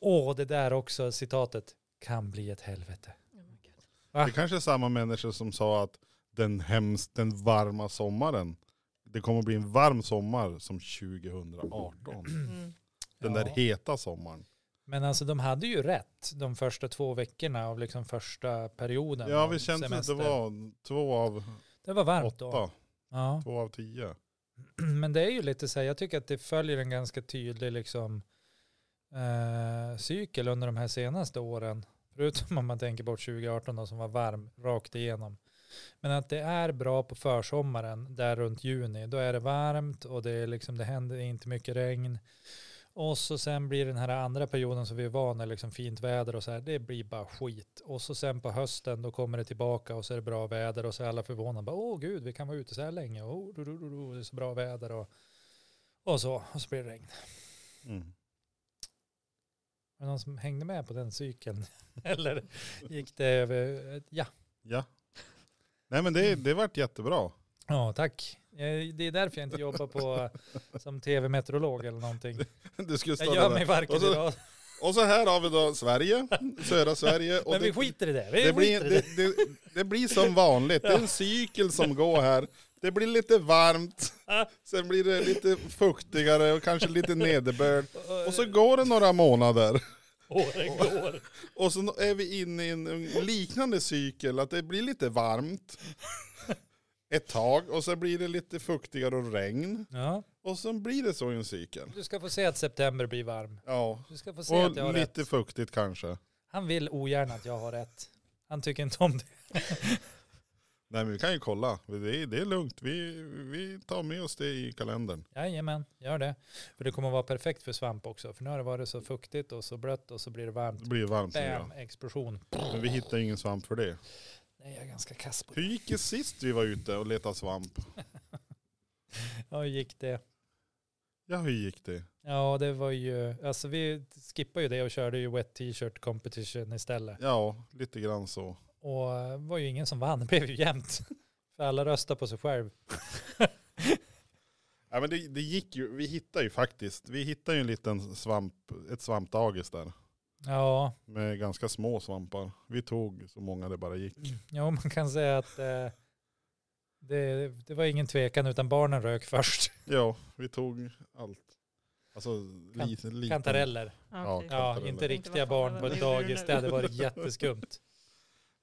Speaker 1: Åh, det där också citatet. Kan bli ett helvete.
Speaker 3: Oh my God.
Speaker 1: Ah.
Speaker 2: Det kanske är samma människor som sa att den, hemskt, den varma sommaren, det kommer bli en varm sommar som 2018.
Speaker 3: Mm.
Speaker 2: Den
Speaker 1: Ja.
Speaker 2: där heta sommaren.
Speaker 1: Men alltså de hade ju rätt de första två veckorna av liksom första perioden.
Speaker 2: ja,
Speaker 1: av
Speaker 2: vi kände att det
Speaker 1: semester.
Speaker 2: var två av
Speaker 1: Det var varmt då.
Speaker 2: åtta,
Speaker 1: Ja.
Speaker 2: två av tio.
Speaker 1: [CLEARS THROAT] Men det är ju lite så här, jag tycker att det följer en ganska tydlig liksom, eh, cykel under de här senaste åren. Förutom om man tänker bort 2018 då, som var varm rakt igenom. Men att det är bra på försommaren, där runt juni. Då är det varmt och det, är liksom, det händer inte mycket regn. Och så sen blir den här andra perioden som vi är vana liksom fint väder och så här, det blir bara skit. Och så sen på hösten då kommer det tillbaka och så är det bra väder och så är alla förvånade. Bara, Åh gud, vi kan vara ute så här länge. Oh, ro, ro, ro, ro, det är så bra väder och, och så. Och så blir det regn.
Speaker 2: Mm.
Speaker 1: Var det någon som hängde med på den cykeln? [LAUGHS] Eller gick det över? Ja,
Speaker 2: Ja. Nej men det, det vart jättebra. [LAUGHS]
Speaker 1: ja tack. Eh, Det är därför jag inte jobbar på som tv-meteorolog eller någonting.
Speaker 2: Du skulle stå
Speaker 1: Jag
Speaker 2: där.
Speaker 1: gör mig varken
Speaker 2: Och så-
Speaker 1: idag.
Speaker 2: Och så här har vi då Sverige, södra Sverige.
Speaker 1: [LAUGHS]
Speaker 2: Och
Speaker 1: Men
Speaker 2: det,
Speaker 1: vi skiter i det. Vi
Speaker 2: det, blir,
Speaker 1: skiter i det.
Speaker 2: det, det, det blir som vanligt, det är en cykel som går här. Det blir lite varmt, sen blir det lite fuktigare och kanske lite nederbörd. Och så går det några månader.
Speaker 1: Åren går.
Speaker 2: [LAUGHS] Och så är vi inne i en liknande cykel, att det blir lite varmt
Speaker 1: [LAUGHS]
Speaker 2: ett tag. Och så blir det lite fuktigare och regn.
Speaker 1: Ja,
Speaker 2: Och så blir det så i en cykel.
Speaker 1: du ska få se att september blir varm.
Speaker 2: Ja,
Speaker 1: Du ska få se att jag har
Speaker 2: och
Speaker 1: rätt.
Speaker 2: lite fuktigt kanske.
Speaker 1: Han vill ogärna att jag har rätt. Han tycker inte om det.
Speaker 2: Nej men vi kan ju kolla, det är, det är lugnt. Vi, vi tar med oss det i kalendern.
Speaker 1: Jajamän, gör det. För det kommer vara perfekt för svamp också. För nu har det varit så fuktigt och så blött och så blir det varmt.
Speaker 2: Det blir varmt säger
Speaker 1: Bam,
Speaker 2: jag.
Speaker 1: explosion.
Speaker 2: Men vi hittar ju ingen svamp för det.
Speaker 1: Nej, jag är ganska kass på det.
Speaker 2: Hur gick det sist vi var ute och letade svamp?
Speaker 1: Ja, hur gick det?
Speaker 2: Ja hur gick det?
Speaker 1: Ja, det var ju, alltså vi skippade ju det och körde ju wet t-shirt competition istället.
Speaker 2: Ja, lite grann så.
Speaker 1: Och eh, var ju ingen som vann, [LAUGHS] det blev ju jämnt. För alla röstar på sig själv.
Speaker 2: Ja, men det, det gick ju, vi hittade ju faktiskt, vi hittade ju en liten svamp, ett svampdagis där.
Speaker 1: Ja,
Speaker 2: Med ganska små svampar. Vi tog så många det bara gick.
Speaker 1: jo, man kan säga att eh, det, det var ingen tvekan utan barnen rök först.
Speaker 2: Ja, vi tog allt. Alltså lite, lite.
Speaker 1: Kantareller.
Speaker 2: Ja,
Speaker 3: okej.
Speaker 1: Ja,
Speaker 2: Kantareller.
Speaker 1: inte riktiga
Speaker 3: Inte vad
Speaker 1: barn på
Speaker 3: fan, vad
Speaker 1: ett
Speaker 3: gjorde du
Speaker 1: dagis.
Speaker 3: nu?
Speaker 1: Det hade varit
Speaker 2: [LAUGHS]
Speaker 1: jätteskumt.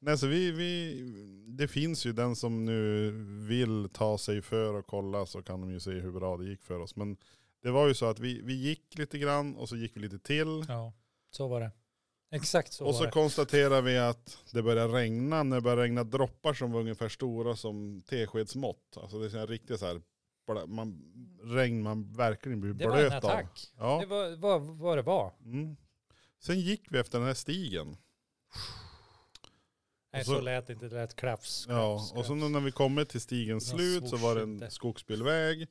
Speaker 2: Nej, så vi, vi, det finns ju den som nu vill ta sig för och kolla så kan de ju se hur bra det gick för oss. Men det var ju så att vi, vi gick lite grann och så gick vi lite till.
Speaker 1: Ja, så var det. Exakt så
Speaker 2: och
Speaker 1: var
Speaker 2: så
Speaker 1: det.
Speaker 2: konstaterade vi att det började regna, när det började regna droppar som var ungefär stora som teskedsmått. Alltså det är så här riktigt så här, blä- man, regn man verkligen blir
Speaker 1: Det var en
Speaker 2: blöt av.
Speaker 1: attack. Det
Speaker 2: Ja.
Speaker 1: var vad vad det var.
Speaker 2: Mm. Sen gick vi efter den här stigen.
Speaker 1: Nej,
Speaker 2: Och
Speaker 1: så,
Speaker 2: så-
Speaker 1: lät det inte. Det lät klaps.
Speaker 2: Ja,
Speaker 1: klaps,
Speaker 2: och så
Speaker 1: klaps.
Speaker 2: nu när vi kommer till stigens
Speaker 1: Ja,
Speaker 2: slut så var det en
Speaker 1: swoosh.
Speaker 2: skogsbilväg,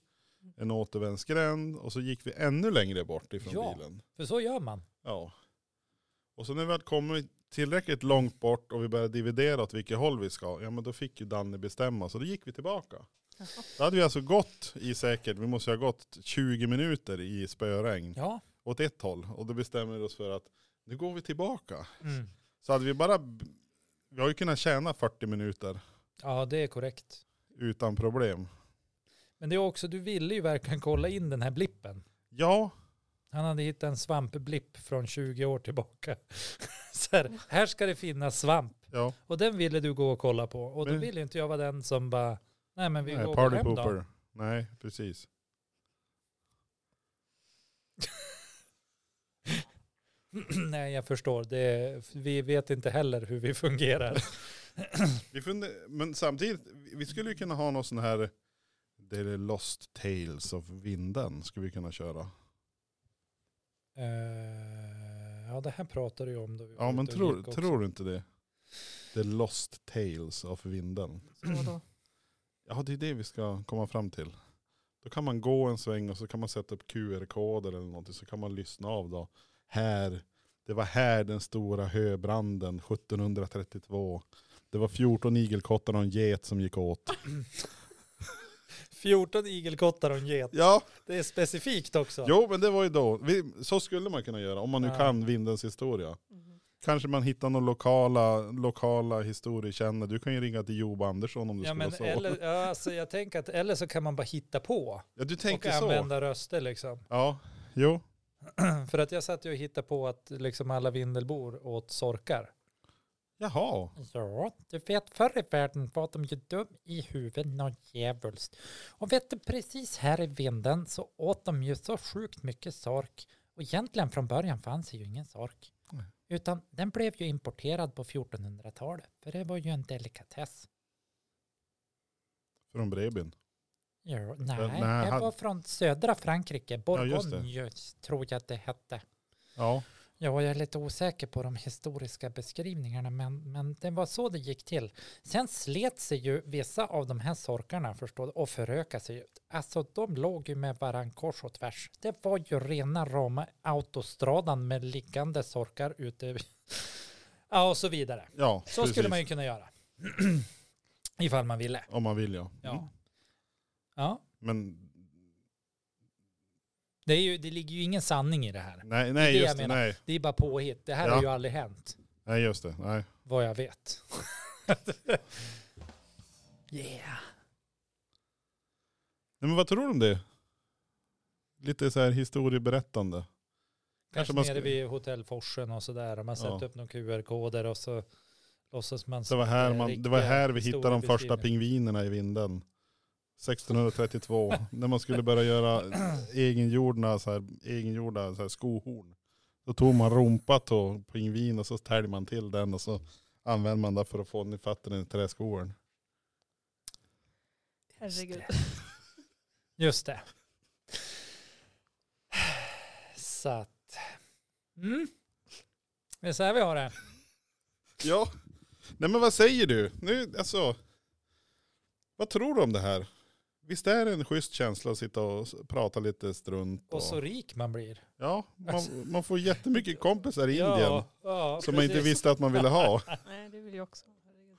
Speaker 2: en återvändsgränd och så gick vi ännu längre bort ifrån
Speaker 1: Ja.
Speaker 2: bilen.
Speaker 1: För så gör man.
Speaker 2: Ja. Och så när vi hade kommit tillräckligt långt bort och vi började dividera åt vilket håll vi ska, ja men då fick ju Danny bestämma, så då gick vi tillbaka.
Speaker 3: Jaha.
Speaker 2: Då hade vi alltså gått i säkert, vi måste ju ha gått 20 minuter i spöregn
Speaker 1: Ja.
Speaker 2: åt ett håll. Och då bestämmer vi oss för att nu går vi tillbaka.
Speaker 1: Mm.
Speaker 2: Så hade vi bara, vi har ju kunnat tjäna 40 minuter
Speaker 1: Ja, det är korrekt.
Speaker 2: utan problem.
Speaker 1: Men det är också, du ville ju verkligen kolla in den här blippen.
Speaker 2: Ja,
Speaker 1: Han hade hittat en svampblipp från 20 år tillbaka. [LAUGHS] Så här, här ska det finnas svamp.
Speaker 2: ja.
Speaker 1: Och den ville du gå och kolla på. Och då
Speaker 2: Men-
Speaker 1: ville inte jag vara den som bara, nej men vi
Speaker 2: Nej,
Speaker 1: går
Speaker 2: party
Speaker 1: hem
Speaker 2: pooper.
Speaker 1: då.
Speaker 2: Nej, precis.
Speaker 1: [CLEARS THROAT] nej, jag förstår. Det, är- vi vet inte heller hur vi
Speaker 2: [LAUGHS]
Speaker 1: fungerar.
Speaker 2: Vi funde, men samtidigt, vi skulle ju kunna ha någon sån här, det är Lost Tales of vinden, skulle vi kunna köra.
Speaker 1: Eh, ja, det här pratade du om då vi var
Speaker 2: Ja men
Speaker 1: ute och
Speaker 2: tror,
Speaker 1: gick också.
Speaker 2: tror du inte det? The Lost Tales of vinden.
Speaker 3: Så då.
Speaker 2: Ja det är det vi ska komma fram till. Då kan man gå en sväng och så kan man sätta upp QR-koder eller någonting så kan man lyssna av då. Här, det var här den stora höbranden 1732. Det var 14 igelkottar och en get som gick åt.
Speaker 1: 14 igelkottar och en get.
Speaker 2: Ja,
Speaker 1: Det är specifikt också.
Speaker 2: jo men det var ju då. Vi, så skulle man kunna göra om man nu
Speaker 1: Alltså. Ja.
Speaker 2: kan vindens historia.
Speaker 3: Mhm.
Speaker 2: Kanske man hittar några lokala, lokala historiekännare. Du kan ju ringa till Job Andersson om du
Speaker 1: Ja,
Speaker 2: skulle
Speaker 1: men
Speaker 2: så.
Speaker 1: eller, ja, alltså jag tänker att, eller så kan man bara hitta på
Speaker 2: ja, du
Speaker 1: och
Speaker 2: tänker så.
Speaker 1: använda röster liksom.
Speaker 2: Ja, jo.
Speaker 1: För att jag satt ju och hittade på att liksom alla vindelbor åt sorkar.
Speaker 2: Jaha.
Speaker 1: Ja, du vet förr i världen var de ju dum i huvudet något djävulskt. Och vet du, precis här i vinden så åt de ju så sjukt mycket sork. Och egentligen från början fanns det ju ingen sork.
Speaker 2: Nej.
Speaker 1: Utan den blev ju importerad på 1400-talet. För det var ju en delikatess.
Speaker 2: Från Brebyn.
Speaker 1: Jo, nej,
Speaker 2: nej,
Speaker 1: det
Speaker 2: han-
Speaker 1: var från södra Frankrike.
Speaker 2: just det.
Speaker 1: Bourgogne tror jag att det hette.
Speaker 2: Ja.
Speaker 1: Ja, jag är lite osäker på de historiska beskrivningarna, men, men det var så det gick till. Sen slet sig ju vissa av de här sorkarna förstår du, och förökade sig. Alltså, de låg ju med varann kors och tvärs. Det var ju rena rama autostradan med liggande sorkar ute. [LAUGHS] Ja, och så vidare.
Speaker 2: Ja,
Speaker 1: Så skulle man ju kunna göra. [CLEARS THROAT] Ifall man ville.
Speaker 2: Om man vill ja. Mm.
Speaker 1: Ja. Ja,
Speaker 2: Men
Speaker 1: det, är ju, det ligger ju ingen sanning i det här.
Speaker 2: nej, nej
Speaker 1: Det är det
Speaker 2: just
Speaker 1: jag
Speaker 2: det,
Speaker 1: menar.
Speaker 2: nej.
Speaker 1: Det är bara påhitt. Det här
Speaker 2: Ja.
Speaker 1: har ju aldrig hänt.
Speaker 2: Nej just det, nej.
Speaker 1: vad jag vet. yeah.
Speaker 2: nej men vad tror du om det? Lite så här historieberättande.
Speaker 1: Kanske
Speaker 2: man
Speaker 1: nere
Speaker 2: ska-
Speaker 1: vid hotellforsen och sådär. Man sätter
Speaker 2: Ja.
Speaker 1: upp några QR-koder och så låtsas man.
Speaker 2: Det var
Speaker 1: som att
Speaker 2: här,
Speaker 1: är
Speaker 2: man, det var
Speaker 1: riktiga
Speaker 2: här vi hittade de första
Speaker 1: historiebeskrivningar.
Speaker 2: pingvinerna i vinden. 1632, när man skulle börja göra egengjorda, så här, egengjorda så här, skohorn. Då tog man rumpa till pingvin och så täljde man till den och så använde man den för att få den i fatten i träskohorn.
Speaker 3: Herregud.
Speaker 1: Just det. [SIGHS] Så att. Mm. Det är så här vi har det.
Speaker 2: Ja, nej men vad säger du? Nu, alltså, vad tror du om det här? Visst är det en schysst känsla att sitta och s- prata lite strunt?
Speaker 1: Och så rik man blir.
Speaker 2: Ja, man, man får jättemycket kompisar i Indien
Speaker 1: Ja, ja,
Speaker 2: som man inte
Speaker 1: precis.
Speaker 2: visste att man ville ha.
Speaker 3: Nej, det vill jag också. Herregud.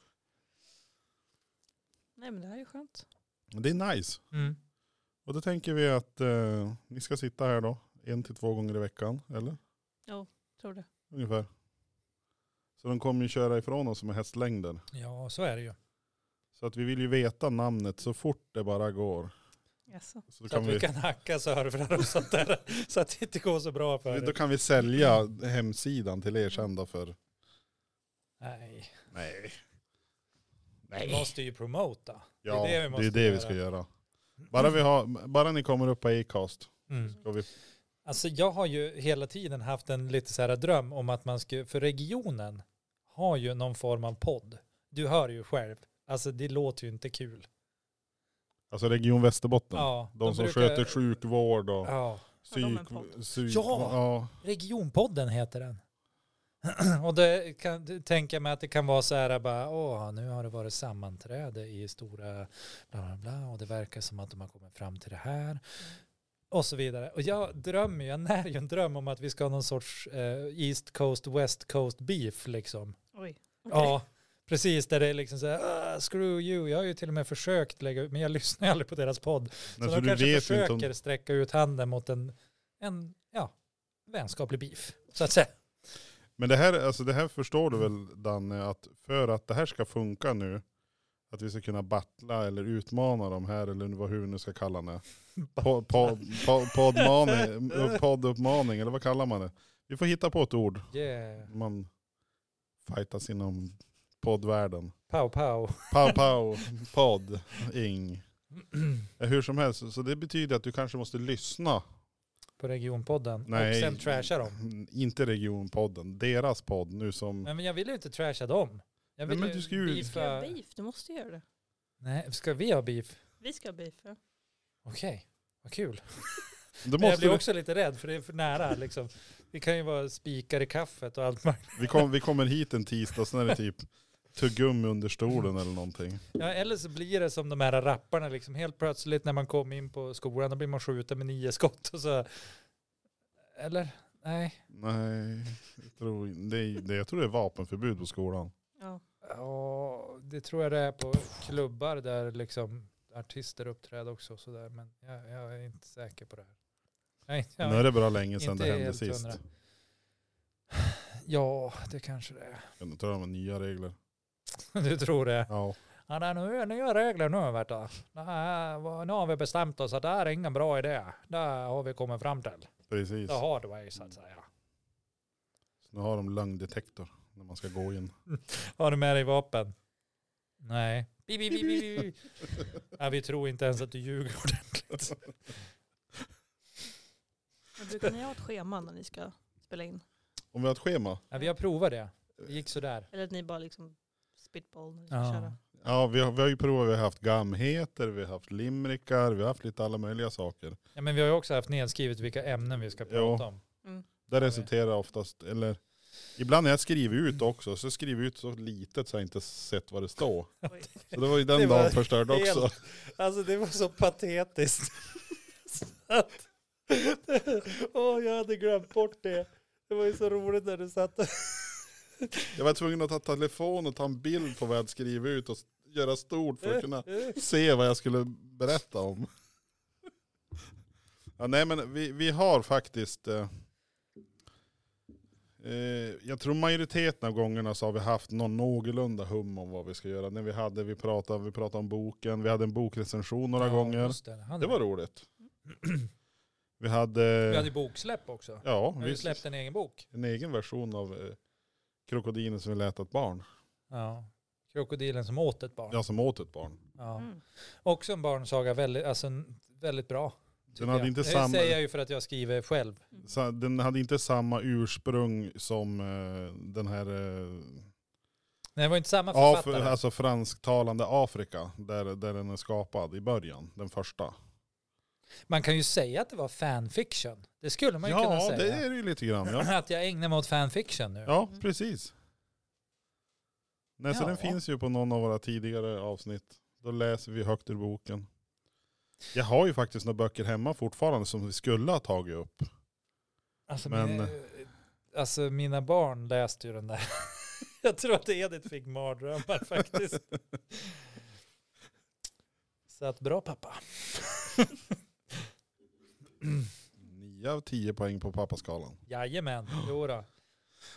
Speaker 3: Nej, men det här är ju skönt.
Speaker 2: Men Det är nice.
Speaker 1: Mm.
Speaker 2: Och då tänker vi att eh, ni ska sitta här då, en till två gånger i veckan, eller?
Speaker 3: Tror du?
Speaker 2: Ungefär. Så de kommer ju köra ifrån oss med hästlängder.
Speaker 1: Ja, så är det ju.
Speaker 2: Så att vi vill ju veta namnet så fort det bara går. Så
Speaker 3: Jaså?
Speaker 2: då
Speaker 1: Så att
Speaker 2: kan
Speaker 1: vi
Speaker 2: vi,
Speaker 1: kan hacka servrar och sånt där. Så att det inte går så bra för
Speaker 2: då
Speaker 1: er.
Speaker 2: kan vi sälja hemsidan till er sen då för
Speaker 1: Nej.
Speaker 2: Nej.
Speaker 1: Vi måste ju promota.
Speaker 2: Ja,
Speaker 1: det
Speaker 2: det
Speaker 1: är det vi
Speaker 2: är det vi,
Speaker 1: måste
Speaker 2: ska göra. Bara, vi har, bara ni kommer upp på Acast. Ska vi,
Speaker 1: Mm. Alltså jag har ju hela tiden haft en lite så här dröm om att man skulle, för regionen har ju någon form av podd. Du hör ju själv, alltså det låter ju inte kul.
Speaker 2: alltså Region Västerbotten.
Speaker 1: Ja,
Speaker 2: de, som sköter sjukvård och
Speaker 1: Ja,
Speaker 3: Har de
Speaker 2: psyk...
Speaker 3: en podd?
Speaker 2: psyk
Speaker 1: Ja!
Speaker 2: ja!
Speaker 1: regionpodden heter den. [CLEARS THROAT] Och det kan det tänker jag mig att det kan vara så här bara, åh, nu har det varit sammanträde i stora bla bla bla och det verkar som att de har kommit fram till det här. Och så vidare. Och jag drömmer, ju- jag när ju en dröm om att vi ska ha någon sorts eh, East Coast, West Coast beef liksom.
Speaker 3: Oj.
Speaker 1: Ja, precis där det är liksom så här, "Ah, screw you. Jag har ju till och med försökt lägga ut, men jag [LAUGHS] lyssnar ju aldrig på deras podd. Så
Speaker 2: Nej, så
Speaker 1: de
Speaker 2: du
Speaker 1: kanske
Speaker 2: vet ju
Speaker 1: försöker
Speaker 2: inte om,
Speaker 1: sträcka ut handen mot en, en ja, vänskaplig beef, så att säga.
Speaker 2: men det här, alltså det här förstår du väl Danne, att för att det här ska funka nu, att vi ska kunna battla eller utmana de här, eller vad hur vi nu ska
Speaker 1: [LAUGHS]
Speaker 2: kalla det, Po- po- po- Poddmaning, podduppmaning, eller vad kallar man det? Vi får hitta på ett ord.
Speaker 1: Yeah,
Speaker 2: Man fightas inom poddvärlden.
Speaker 1: pow pow.
Speaker 2: Pow pow, podd, ing. Eh, Hur som helst, så det betyder att du kanske måste lyssna.
Speaker 1: På regionpodden.
Speaker 2: Nej.
Speaker 1: Och sen trasha dem.
Speaker 2: Inte regionpodden, deras podd nu som...
Speaker 1: Nej, men jag vill ju inte trasha dem. Jag
Speaker 2: Nej,
Speaker 1: vill
Speaker 2: men
Speaker 1: ju
Speaker 2: du ska ju-
Speaker 3: Ska jag ha
Speaker 1: beefa.
Speaker 3: beef? Du måste göra det.
Speaker 1: Nej, ska vi ha beef?
Speaker 3: Vi ska ha beef. Ja.
Speaker 1: Okej, vad kul.
Speaker 2: Då
Speaker 1: Men jag
Speaker 2: måste
Speaker 1: blir
Speaker 2: du,
Speaker 1: också lite rädd för det är för nära liksom. Det kan ju vara spikar i kaffet och allt möjligt.
Speaker 2: vi, kom, vi kommer hit en tisdag, sen är det typ tuggummi under stolen eller någonting.
Speaker 1: Ja, eller så blir det som de här rapparna liksom. Helt plötsligt när man kom in på skolan då blir man skjuten med nio skott och så. Eller? Nej.
Speaker 2: Nej, jag tror, det, är- det, jag tror det är vapenförbud på skolan.
Speaker 3: Ja.
Speaker 1: Ja, det tror jag det är på klubbar där liksom artister uppträder också och sådär. Men jag, jag är inte säker på det här. Nej, jag,
Speaker 2: Nu är det bara länge sedan
Speaker 1: inte
Speaker 2: det hände
Speaker 1: helt
Speaker 2: sist.
Speaker 1: hundra. Ja, det kanske det är. [LAUGHS]
Speaker 2: Jag tror de har nya regler.
Speaker 1: Du tror det?
Speaker 2: Ja.
Speaker 1: Ja, det är nu är nya regler nu. Vet du. Det här, var- nu har vi bestämt oss att det här är ingen bra idé. Det har vi kommit fram till.
Speaker 2: Precis.
Speaker 1: The hard way så att säga.
Speaker 2: Så Nu har de lögndetektor när man ska gå in. [LAUGHS]
Speaker 1: Har du med dig vapen? Nej. Bi, bi, bi, bi,
Speaker 2: [LAUGHS]
Speaker 1: bi. Ja, vi tror inte ens att du ljuger ordentligt.
Speaker 3: Men brukar ni ha ett schema när ni ska spela in?
Speaker 2: Om vi har ett schema?
Speaker 1: Ja, vi har provat det. Det gick sådär.
Speaker 3: Eller att ni bara liksom spitball när ni ska
Speaker 1: Ja.
Speaker 3: köra?
Speaker 2: Ja, vi har, vi har ju provat. Vi har haft gamheter, vi har haft limrikar, vi har haft lite alla möjliga saker.
Speaker 1: Ja, men vi har ju också haft nedskrivet vilka ämnen vi ska prata om.
Speaker 3: Mm.
Speaker 2: Det resulterar oftast, eller ibland när jag skriver ut också, så skriver jag ut så litet så jag inte sett vad det står.
Speaker 3: Oj.
Speaker 2: Så det var ju
Speaker 1: Det
Speaker 2: den
Speaker 1: var
Speaker 2: dagen förstörd
Speaker 1: helt-
Speaker 2: också.
Speaker 1: Alltså det var så patetiskt. [LAUGHS] Så att- Åh, jag hade glömt bort det. Det var ju så roligt när du satt
Speaker 2: Jag var tvungen att ta telefon och ta en bild på vad jag hade skrivit ut och s- göra stort för att kunna se vad jag skulle berätta om. [LAUGHS] Ja, nej men vi, vi har faktiskt, eh, eh, jag tror majoriteten av gångerna så har vi haft någon någorlunda hum om vad vi ska göra. När vi hade, vi pratade, vi pratade om boken, vi hade en bokrecension några
Speaker 1: Ja,
Speaker 2: gånger.
Speaker 1: just Det, Han-
Speaker 2: Det var roligt. [CLEARS THROAT] Vi hade,
Speaker 1: Vi hade ju boksläpp också.
Speaker 2: ja,
Speaker 1: Vi har ju
Speaker 2: vi
Speaker 1: släppt en egen bok.
Speaker 2: en egen version av eh, Krokodilen som vill äta ett barn.
Speaker 1: Ja. Krokodilen som åt ett barn.
Speaker 2: Ja, som åt ett barn.
Speaker 1: Ja.
Speaker 3: Mm.
Speaker 1: Också en barnsaga, väldigt, alltså, en- väldigt bra. tycker
Speaker 2: hade
Speaker 1: jag.
Speaker 2: inte
Speaker 1: det
Speaker 2: samma-
Speaker 1: säger jag ju för att jag skriver själv.
Speaker 2: Så den hade inte samma ursprung som eh, den här eh,
Speaker 1: Nej, det var inte samma
Speaker 2: Af
Speaker 1: författare.
Speaker 2: alltså fransktalande Afrika, där, där den är skapad i början, den första.
Speaker 1: Man kan ju säga att det var fanfiction. Det skulle man ju kunna
Speaker 2: Ja,
Speaker 1: säga.
Speaker 2: det är det ju lite
Speaker 1: [LAUGHS]
Speaker 2: grann.
Speaker 1: [CLEARS THROAT]
Speaker 2: Ja,
Speaker 1: Att jag ägnar mig åt fanfiction nu.
Speaker 2: ja precis. Nej, så
Speaker 1: Ja.
Speaker 2: den finns ju på någon av våra tidigare avsnitt. Då läser vi högt ur boken. Jag har ju faktiskt några böcker hemma fortfarande som vi skulle ha tagit upp.
Speaker 1: Alltså,
Speaker 2: Men-
Speaker 1: mina, alltså mina barn läste ju den där. [LAUGHS] Jag tror att Edith fick
Speaker 2: [LAUGHS]
Speaker 1: mardrömmar faktiskt. Så att bra pappa.
Speaker 2: Nio av tio poäng på pappaskalan.
Speaker 1: Jajamän, jodå.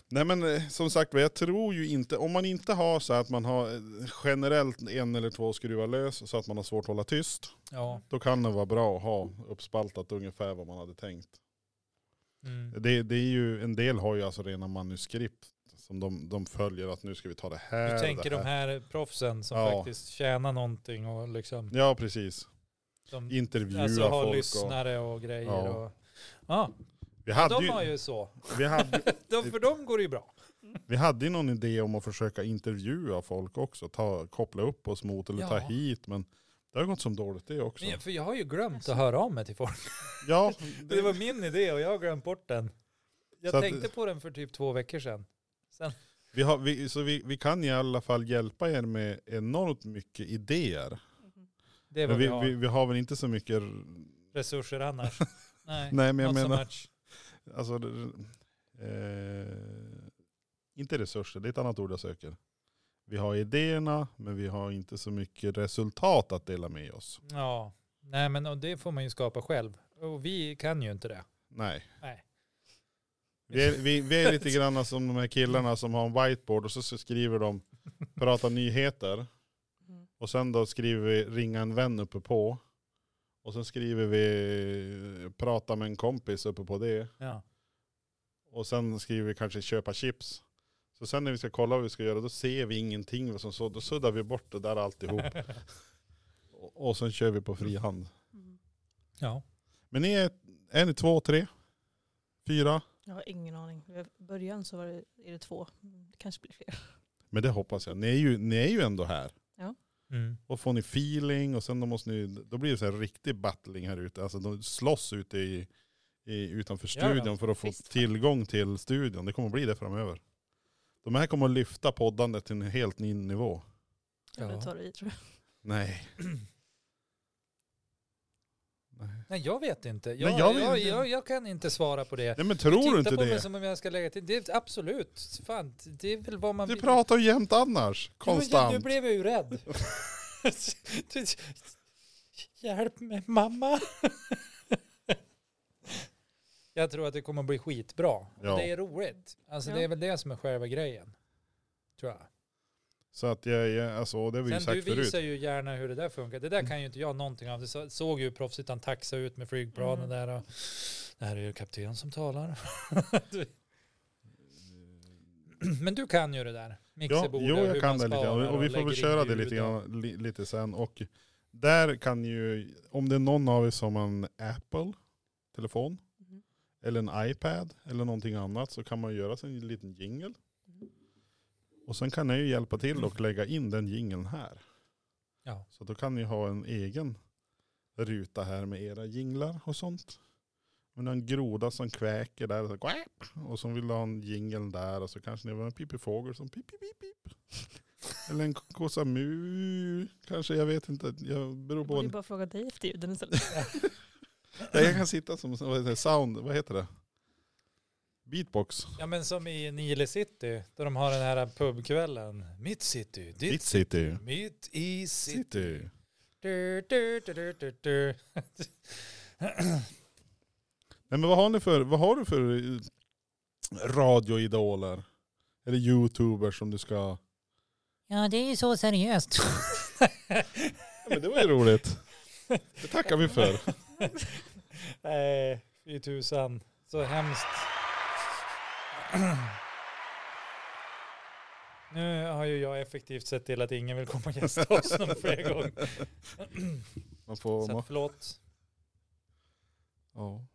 Speaker 2: Nej men eh, som sagt jag tror ju inte, om man inte har så att man har eh, generellt en eller två skruvar lös så att man har svårt att hålla tyst,
Speaker 1: Ja.
Speaker 2: då kan det vara bra att ha uppspaltat ungefär vad man hade tänkt.
Speaker 1: Mm.
Speaker 2: Det, det är ju, en del har ju alltså rena manuskript som de, de följer att nu ska vi ta det här.
Speaker 1: Du tänker
Speaker 2: det
Speaker 1: de här proffsen som
Speaker 2: Ja.
Speaker 1: faktiskt tjänar någonting och liksom
Speaker 2: Ja precis,
Speaker 1: de,
Speaker 2: intervjua
Speaker 1: alltså, har
Speaker 2: folk. Och,
Speaker 1: lyssnare och grejer.
Speaker 2: Ja.
Speaker 1: Och, ja,
Speaker 2: vi, hade
Speaker 1: de har
Speaker 2: ju,
Speaker 1: ju så.
Speaker 2: vi, hade,
Speaker 1: De, för dem går det ju bra.
Speaker 2: vi hade ju någon idé om att försöka intervjua folk också, ta, koppla upp oss mot eller ta
Speaker 1: Ja.
Speaker 2: hit men det har gått som dåligt det också.
Speaker 1: Men, jag- för jag har ju glömt att höra av mig till folk.
Speaker 2: Ja,
Speaker 1: [LAUGHS] Det var min idé och jag har glömt bort den. Jag
Speaker 2: Så att-
Speaker 1: tänkte på den för typ två veckor sedan.
Speaker 2: Vi har, vi, så vi, vi kan i alla fall hjälpa er med enormt mycket idéer.
Speaker 3: Mhm.
Speaker 1: Det är
Speaker 2: Men
Speaker 1: vad
Speaker 2: vi,
Speaker 1: vi har.
Speaker 2: vi, vi har väl inte så mycket... [LAUGHS]
Speaker 1: Resurser annars. Nej,
Speaker 2: Nej men jag
Speaker 1: not so
Speaker 2: menar,
Speaker 1: much.
Speaker 2: alltså, det- eh, inte resurser, det är ett annat ord jag söker. Vi har idéerna men vi har inte så mycket resultat att dela med oss.
Speaker 1: Ja, nej men och det får man ju skapa själv. Och vi kan ju inte det.
Speaker 2: Nej.
Speaker 1: Nej.
Speaker 2: Vi är, vi, vi är lite grann som de här killarna som har en whiteboard och så så skriver de, pratar nyheter.
Speaker 3: Mm.
Speaker 2: Och sen då skriver vi ringa en vän uppe på. Och sen skriver vi prata med en kompis uppe på det.
Speaker 1: Ja.
Speaker 2: Och sen skriver vi kanske köpa chips. Så sen när vi ska kolla vad vi ska göra då ser vi ingenting. Så, så, då suddar vi bort det där alltihop. och, och sen kör vi på fri hand.
Speaker 3: Mm.
Speaker 1: ja.
Speaker 2: Men ni är, är ni två, tre, fyra?
Speaker 3: Jag har ingen aning. I början så var det, är det två. Det kanske blir fler.
Speaker 2: Men det hoppas jag. Ni är ju, ni är ju ändå här.
Speaker 1: Mm.
Speaker 2: Och får ni feeling och sen då måste ni, då blir det så här riktig battling här ute. Alltså de slåss ute i, i, utanför
Speaker 1: Ja, ja.
Speaker 2: studion för att få
Speaker 3: Fist fight.
Speaker 2: tillgång till studion. Det kommer bli det framöver. De här kommer att lyfta poddandet till en helt ny nivå.
Speaker 3: Jag
Speaker 1: Ja.
Speaker 3: vill ta det i tror jag.
Speaker 2: Nej. [CLEARS THROAT] Nej.
Speaker 1: Nej jag vet inte. Jag,
Speaker 2: Nej, jag
Speaker 1: jag,
Speaker 2: vet
Speaker 1: jag,
Speaker 2: inte.
Speaker 1: jag, kan inte svara på det.
Speaker 2: Nej men tror du
Speaker 1: Titta
Speaker 2: inte
Speaker 1: på mig
Speaker 2: det?
Speaker 1: som om jag ska lägga till. Det är, absolut. Fan, det är väl vad man
Speaker 2: Du
Speaker 1: vill.
Speaker 2: pratar ju jämt annars.
Speaker 1: Jo, men
Speaker 2: Konstant.
Speaker 1: Nu blev jag ju [LAUGHS] rädd. Du- Hjälp mig mamma. [LAUGHS] Jag tror att det kommer bli skitbra. Och
Speaker 2: Ja.
Speaker 1: Det är roligt. Alltså
Speaker 3: Ja.
Speaker 1: det är väl det som är själva grejen. Tror jag.
Speaker 2: Så att jag, jag alltså det har vi ju
Speaker 1: Sen du
Speaker 2: sagt förut. Mm.
Speaker 1: visar ju gärna hur det där funkar. Det där kan ju inte jag någonting av. Du så- såg ju hur proffsigt han taxade ut med flygplanen
Speaker 3: Mm.
Speaker 1: där. Och, det här är ju kapten som
Speaker 2: [LAUGHS]
Speaker 1: talar. Du- [CLEARS THROAT] Men du kan ju det där.
Speaker 2: Ja,
Speaker 1: Mixerbord
Speaker 2: jo,
Speaker 1: och hur
Speaker 2: jag kan
Speaker 1: man
Speaker 2: det lite grann.
Speaker 1: sparar
Speaker 2: Och vi får
Speaker 1: lägger
Speaker 2: väl
Speaker 1: in
Speaker 2: köra det lite
Speaker 1: ljud och-
Speaker 2: grann li, lite sen. Och där kan ju, om det är någon av er som har en Apple-telefon
Speaker 3: Mhm.
Speaker 2: eller en iPad eller någonting annat så kan man göra sig en liten jingle.
Speaker 3: Mhm.
Speaker 2: Och sen kan jag ju hjälpa till och lägga in den jingeln här.
Speaker 1: Ja.
Speaker 2: Så då kan ni ha en egen ruta här med era jinglar och sånt. Men en groda som kväker där och så "Quack", och som vill ha en jingel där och så kanske ni vill ha en pipifågel som pip pip pip pip. Eller en k- kossa mu kanske, jag vet inte. Jag beror
Speaker 3: Jag
Speaker 2: på.
Speaker 3: borde ju bara fråga dig efter ljuden istället.
Speaker 2: Nej, jag kan sitta som vad heter det, sound, vad heter det? Beatbox.
Speaker 1: Ja men som i Nile City, där de har den här pubkvällen. Mitt city, ditt,
Speaker 2: Ditt
Speaker 1: city,
Speaker 2: city.
Speaker 1: mitt i city.
Speaker 2: City.
Speaker 1: Du, du, du, du, du, du.
Speaker 2: Nej men vad har ni för, vad har du för eh, radioidoler? Eller youtubers som du ska...
Speaker 4: Ja, det är ju så
Speaker 1: [LAUGHS]
Speaker 4: seriöst.
Speaker 2: Ja, men det [LAUGHS] var ju roligt. Det tackar vi för.
Speaker 1: [LAUGHS] Nej, fy tusan. Så hemskt. [CLEARS THROAT] Nu har ju jag effektivt sett till att ingen vill komma och gästa oss någon fler gång. [CLEARS THROAT]
Speaker 2: Man får,
Speaker 1: Så
Speaker 2: man,
Speaker 1: att, förlåt.
Speaker 2: ja.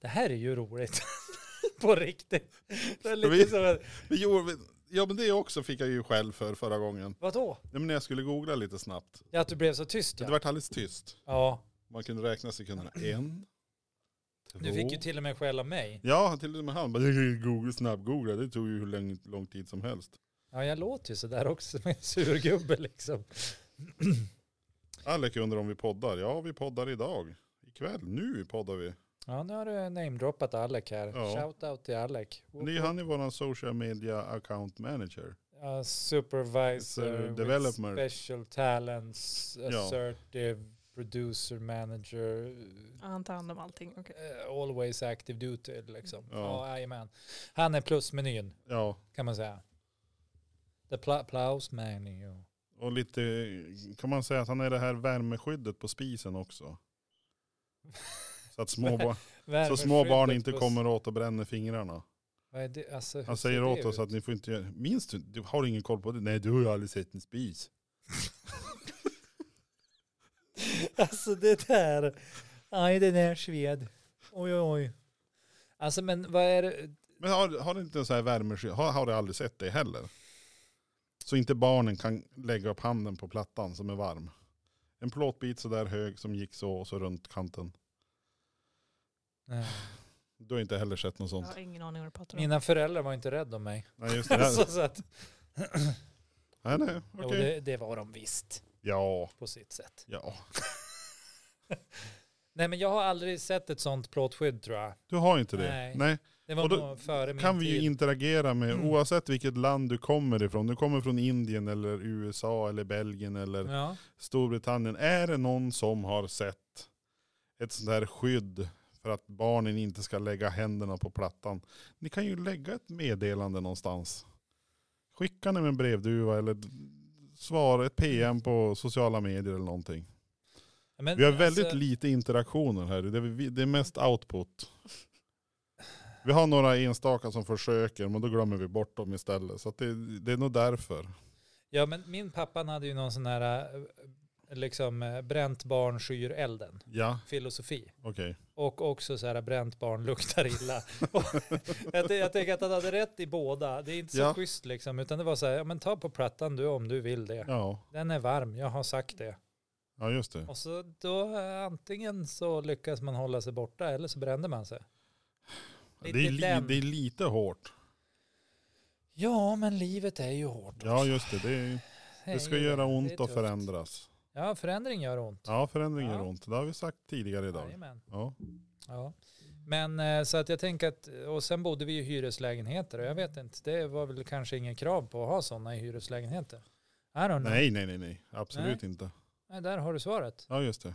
Speaker 1: Det här är ju roligt. [LAUGHS] På riktigt. Det är
Speaker 2: Vi-
Speaker 1: lite som att,
Speaker 2: Men jo, ja men det också fick jag ju själv för förra gången.
Speaker 1: vadå?
Speaker 2: Nej, men när jag skulle googla lite snabbt.
Speaker 1: Ja, att du blev så tyst
Speaker 2: Det
Speaker 1: ja.
Speaker 2: vart alldeles tyst.
Speaker 1: Ja,
Speaker 2: Man kunde räkna sekunderna. En, två.
Speaker 1: du fick ju till och med skäll av mig.
Speaker 2: Ja, till och med han bara, [LAUGHS] "Jag kan ju Google, snabbgoogla, det tog ju hur lång, lång tid som helst.
Speaker 1: Ja, jag låter ju sådär också [LAUGHS] med en surgubbe liksom. [CLEARS THROAT]
Speaker 2: Alec undrar om vi poddar. Ja, vi poddar idag. Ikväll, nu poddar vi.
Speaker 1: Ja, nu har du namedroppat Alec här.
Speaker 2: Ja.
Speaker 1: Shout out till Alec.
Speaker 2: Men det är ju han är våran social media account manager.
Speaker 1: Ja, supervisor,
Speaker 2: Sir,
Speaker 1: with
Speaker 2: developer.
Speaker 1: special talents,
Speaker 2: Ja.
Speaker 1: assertive, producer, manager,
Speaker 3: Ja, Han tar hand om allting. Okay.
Speaker 1: eh, always active duty liksom.
Speaker 2: Ja.
Speaker 1: Ja, jajamän. Han är plusmenyn
Speaker 2: Ja,
Speaker 1: kan man säga. The pl- plus menu.
Speaker 2: och lite, kan man säga att han är det här värmeskyddet på
Speaker 1: [LAUGHS]
Speaker 2: spisen också. Så att små, barn- så små barn inte kommer åt och bränner fingrarna.
Speaker 1: Vad är det? Alltså, hur
Speaker 2: Han
Speaker 1: ser
Speaker 2: säger
Speaker 1: det
Speaker 2: åt oss
Speaker 1: ut?
Speaker 2: att ni får inte göra, minns du, du har ingen koll på det? Nej, du har ju aldrig sett en spis.
Speaker 1: [LAUGHS] Alltså det där. Aj den där sved. Oj oj oj. Alltså men vad är det?
Speaker 2: Men har, har du inte en sån här värmeskydd, har, har du aldrig sett det heller? Så inte barnen kan lägga upp handen på plattan som är varm. En plåtbit så där hög som gick så och så runt kanten.
Speaker 1: Nej.
Speaker 2: Du har inte heller sett något
Speaker 3: Jag
Speaker 2: sånt.
Speaker 3: har ingen aning vad du pratar
Speaker 1: [LAUGHS]
Speaker 2: [LAUGHS]
Speaker 3: om.
Speaker 1: Mina föräldrar var inte rädda om mig.
Speaker 2: Nej, just det.
Speaker 1: Så, så att,
Speaker 2: Nej, nej, okej.
Speaker 1: Alltså, Jo, det, det var de visst
Speaker 2: Ja,
Speaker 1: på sitt sätt.
Speaker 2: ja.
Speaker 1: Nej men jag har aldrig sett ett sånt plåtskydd tror jag.
Speaker 2: Du har inte det.
Speaker 1: Nej.
Speaker 2: Nej.
Speaker 1: Det var
Speaker 2: Och då
Speaker 1: nog före min
Speaker 2: kan vi ju
Speaker 1: tid.
Speaker 2: interagera med
Speaker 1: Mm.
Speaker 2: oavsett vilket land du kommer ifrån. Du kommer från Indien eller USA eller Belgien eller
Speaker 1: ja.
Speaker 2: Storbritannien. Är det någon som har sett ett sånt här skydd för att barnen inte ska lägga händerna på plattan? Ni kan ju lägga ett meddelande någonstans. Skicka dem en brevduva eller svara ett PM på sociala medier eller någonting.
Speaker 1: Men
Speaker 2: Vi har väldigt
Speaker 1: alltså,
Speaker 2: lite interaktioner här. Det är, vi- det är mest output. Vi har några enstaka som försöker men då glömmer vi bort dem istället. Så att det, det är nog därför.
Speaker 1: Ja men min pappa hade ju någon sån här eh, liksom eh, bränt barn skyr elden.
Speaker 2: Ja,
Speaker 1: Filosofi.
Speaker 2: okej.
Speaker 1: Och också så här eh, bränt barn luktar illa. [LAUGHS] Och jag, t- jag tänker att han hade rätt i båda. Det är inte så
Speaker 2: Ja.
Speaker 1: schysst liksom. Utan det var så här, ja men ta på plattan du om du vill det.
Speaker 2: Ja.
Speaker 1: Den är varm, jag har sagt det.
Speaker 2: ja, just det.
Speaker 1: Och så då eh, antingen så lyckas man hålla sig borta eller så brände man sig.
Speaker 2: Det är, li,
Speaker 1: den.
Speaker 2: det är lite hårt.
Speaker 1: Ja, men livet är ju hårt.
Speaker 2: Ja just det, det,
Speaker 1: [LAUGHS]
Speaker 2: är,
Speaker 1: är
Speaker 2: det ska
Speaker 1: ju det.
Speaker 2: göra
Speaker 1: Det är
Speaker 2: ont och
Speaker 1: tufft.
Speaker 2: förändras.
Speaker 1: Ja, förändring gör ont.
Speaker 2: Ja förändring gör
Speaker 1: Ja.
Speaker 2: ont, det har vi sagt tidigare idag.
Speaker 1: Jajamän.
Speaker 2: Ja.
Speaker 1: Ja. Men eh, så att jag tänker att, och sen bodde vi i hyreslägenheter och jag vet inte, det var väl kanske ingen krav på att ha sådana i hyreslägenheter. I don't know.
Speaker 2: Nej nej nej nej, absolut inte.
Speaker 1: Nej, där har du svaret.
Speaker 2: Ja just det.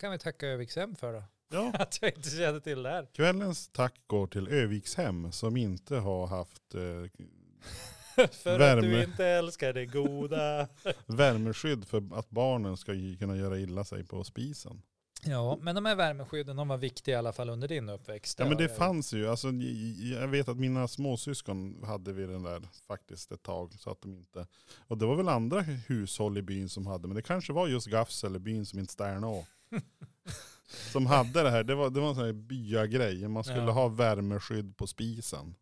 Speaker 1: kan vi tacka Övikshem för då.
Speaker 2: Ja.
Speaker 1: [LAUGHS] Att jag inte kände till det här. [LAUGHS]
Speaker 2: Kvällens tack går till Övikshem som inte har haft eh,
Speaker 1: För att du
Speaker 2: Värme.
Speaker 1: inte älskar det goda.
Speaker 2: värmeskydd för att barnen ska ju kunna göra illa sig på spisen.
Speaker 1: [LAUGHS] Ja, men de här värmeskydden, de var viktiga i alla fall under din uppväxt.
Speaker 2: Ja men det
Speaker 1: har jag-
Speaker 2: fanns ju, alltså, j- j- jag vet att mina småsyskon hade vi den där faktiskt ett tag. Så att de inte, och det var väl andra hushåll i byn som hade, men det kanske var just Gafsel i byn som inte [LAUGHS] Sternå. som hade det här, det var, det var en sån här byagrej, man skulle
Speaker 1: Ja.
Speaker 2: ha värmeskydd på spisen.